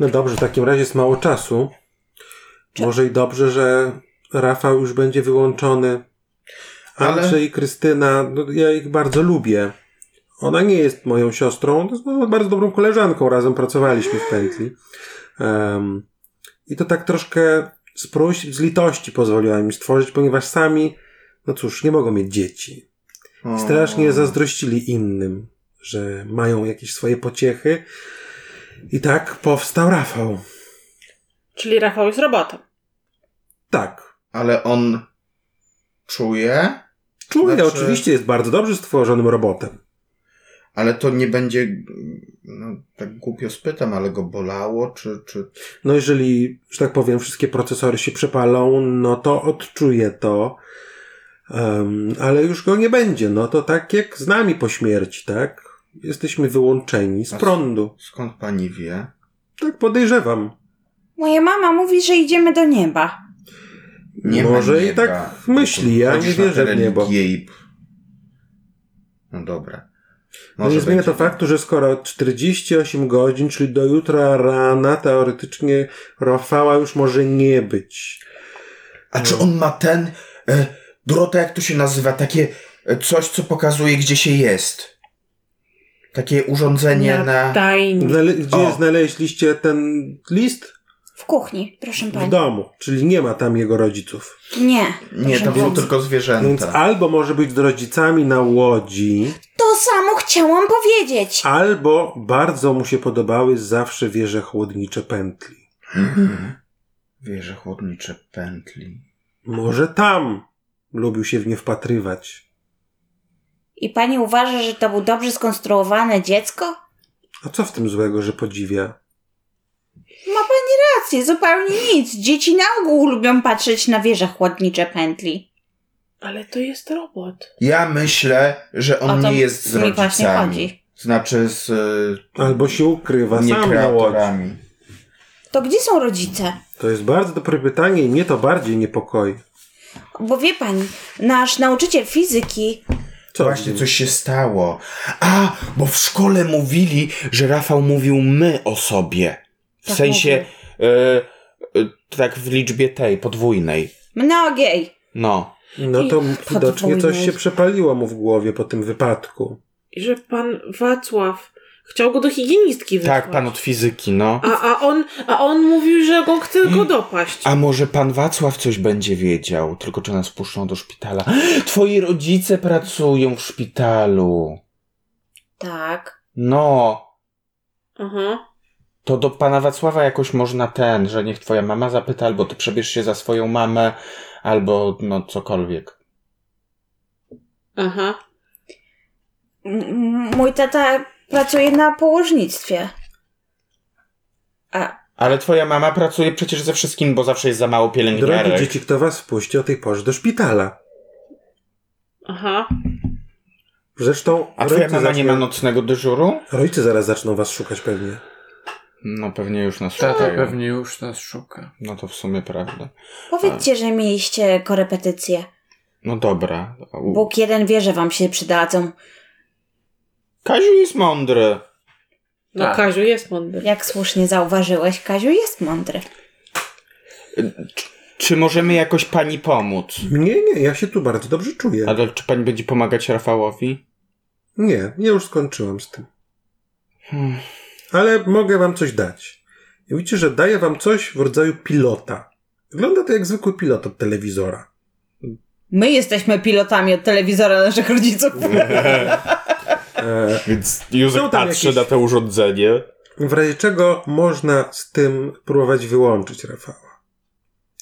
No dobrze, w takim razie jest mało czasu. Może i dobrze, że Rafał już będzie wyłączony. Ale- Andrzej i Krystyna, no ja ich bardzo lubię. Ona nie jest moją siostrą, ona jest moją bardzo dobrą koleżanką, razem pracowaliśmy w pętli. Em, I to tak troszkę z próśb, z litości pozwoliła im stworzyć, ponieważ sami, no cóż, nie mogą mieć dzieci. O. strasznie zazdrościli innym, że mają jakieś swoje pociechy. I tak powstał Rafał. Czyli Rafał jest robotem. Tak. Ale on czuje, Czuje Znaczy- oczywiście jest bardzo dobrze stworzonym robotem. ale to nie będzie... No, tak głupio spytam, ale go bolało, czy... czy... No jeżeli, że tak powiem, wszystkie procesory się przepalą, no to odczuje to. Em, ale już go nie będzie. No to tak jak z nami po śmierci, tak? Jesteśmy wyłączeni z A s- prądu. Skąd pani wie? Tak podejrzewam. Moja mama mówi, że idziemy do nieba. Nie ma Może i nieba. tak myśli, ja Chodzisz nie na wierzę te w niebo. religie i- No dobra. No nie zmienia to będzie. faktu, że skoro 48 godzin, czyli do jutra rana, teoretycznie Rafała już może nie być. A No. czy on ma ten... E, Dorota, jak to się nazywa? Takie e, coś, co pokazuje, gdzie się jest. Takie urządzenie na... tak, tajni. Znale- gdzie O. znaleźliście ten list? W kuchni, proszę W Tak. pani. domu, czyli nie ma tam jego rodziców. Nie. Nie, proszę to są pani. tylko Więc zwierzęta. albo może być z rodzicami na łodzi, To samo chciałam powiedzieć. albo bardzo mu się podobały zawsze wieże chłodnicze pętli. Mhm. Wieże chłodnicze pętli. Może tam lubił się w nie wpatrywać. I pani uważa, że to był dobrze skonstruowane dziecko? A co w tym złego, że podziwia? Ma pani rację, zupełnie nic. Dzieci na ogół lubią patrzeć na wieże chłodnicze pętli. Ale to jest robot. Ja myślę, że on O to nie jest z mi właśnie rodzicami. chodzi. Znaczy z e, Albo się ukrywa nie sam na łodzi. kreatorami. To gdzie są rodzice? To jest bardzo dobre pytanie i mnie to bardziej niepokoi. Bo wie pani, nasz nauczyciel fizyki Co Właśnie z nim? coś się stało. A, bo w szkole mówili, że Rafał mówił my o sobie. W Tak sensie e, e, tak w liczbie tej, podwójnej. mnogiej. No. No to widocznie coś podwójność. się przepaliło mu w głowie po tym wypadku. I że pan Wacław chciał go do higienistki wysłać. Tak, pan od fizyki, no. A, a, on, a on mówił, że go chce tylko dopaść. Mm. A może pan Wacław coś będzie wiedział, tylko czy nas puszczą do szpitala? <gasps> Twoi rodzice pracują w szpitalu. Tak. No, Aha. to do pana Wacława jakoś można ten, że niech twoja mama zapyta, albo ty przebierz się za swoją mamę, albo no cokolwiek. Aha. M- m- Mój tata pracuje na położnictwie. A, Ale twoja mama pracuje przecież ze wszystkim, bo zawsze jest za mało pielęgniarek. Drogie dzieci, kto was wpuści o tej porze do szpitala? Aha. Zresztą A twoja rodzice, mama nie zaczną, ma nocnego dyżuru? rodzice zaraz zaczną was szukać pewnie. No pewnie już nas Tata szukają. pewnie już nas szuka. No to w sumie prawda. Powiedzcie, że mieliście korepetycje. No dobra. U. Bóg jeden wie, że wam się przydadzą. Kaziu jest mądry. No Tak. Kaziu jest mądry. Jak słusznie zauważyłeś, Kaziu jest mądry. Czy możemy jakoś pani pomóc? Nie, nie, ja się tu bardzo dobrze czuję. Ale czy pani będzie pomagać Rafałowi? Nie, ja już skończyłam z tym. Hmm. Ale mogę wam coś dać. I widzicie, że daję wam coś w rodzaju pilota. Wygląda to jak zwykły pilot od telewizora. my jesteśmy pilotami od telewizora naszych rodziców. E, Więc Józef Są tam patrzy jakieś- na to urządzenie. w razie czego można z tym próbować wyłączyć Rafała.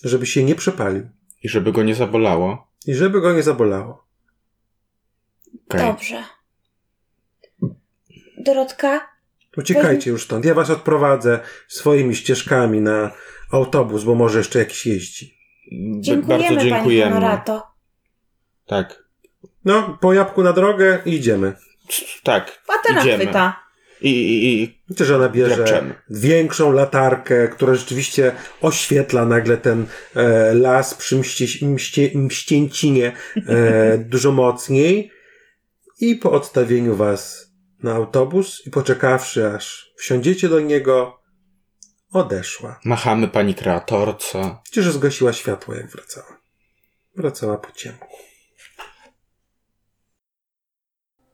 Żeby się nie przepalił. I żeby go nie zabolało. I żeby go nie zabolało. Okej. Dobrze. Dorotka, Uciekajcie już stąd. Ja was odprowadzę swoimi ścieżkami na autobus, bo może jeszcze jakiś jeździ. B- dziękujemy, Bardzo dziękujemy. pani Honorato. tak. No, po jabłku na drogę i idziemy. Tak. A teraz Idziemy. pyta. I, i, i Widzicie, że ona bierze Klepczemy. większą latarkę, która rzeczywiście oświetla nagle ten e, las przy mści, mście, mścięcinie e, dużo mocniej. I po odstawieniu was na autobus i poczekawszy, aż wsiądziecie do niego, odeszła. machamy pani kreatorce. Widzicie, że zgasiła światło, jak wracała. Wracała po ciemku.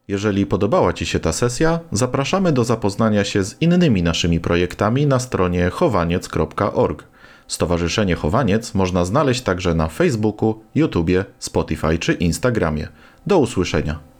Jeżeli podobała Ci się ta sesja, zapraszamy do zapoznania się z innymi naszymi projektami na stronie chowaniec.org. Stowarzyszenie Chowaniec można znaleźć także na Facebooku, YouTubie, Spotify czy Instagramie. Do usłyszenia.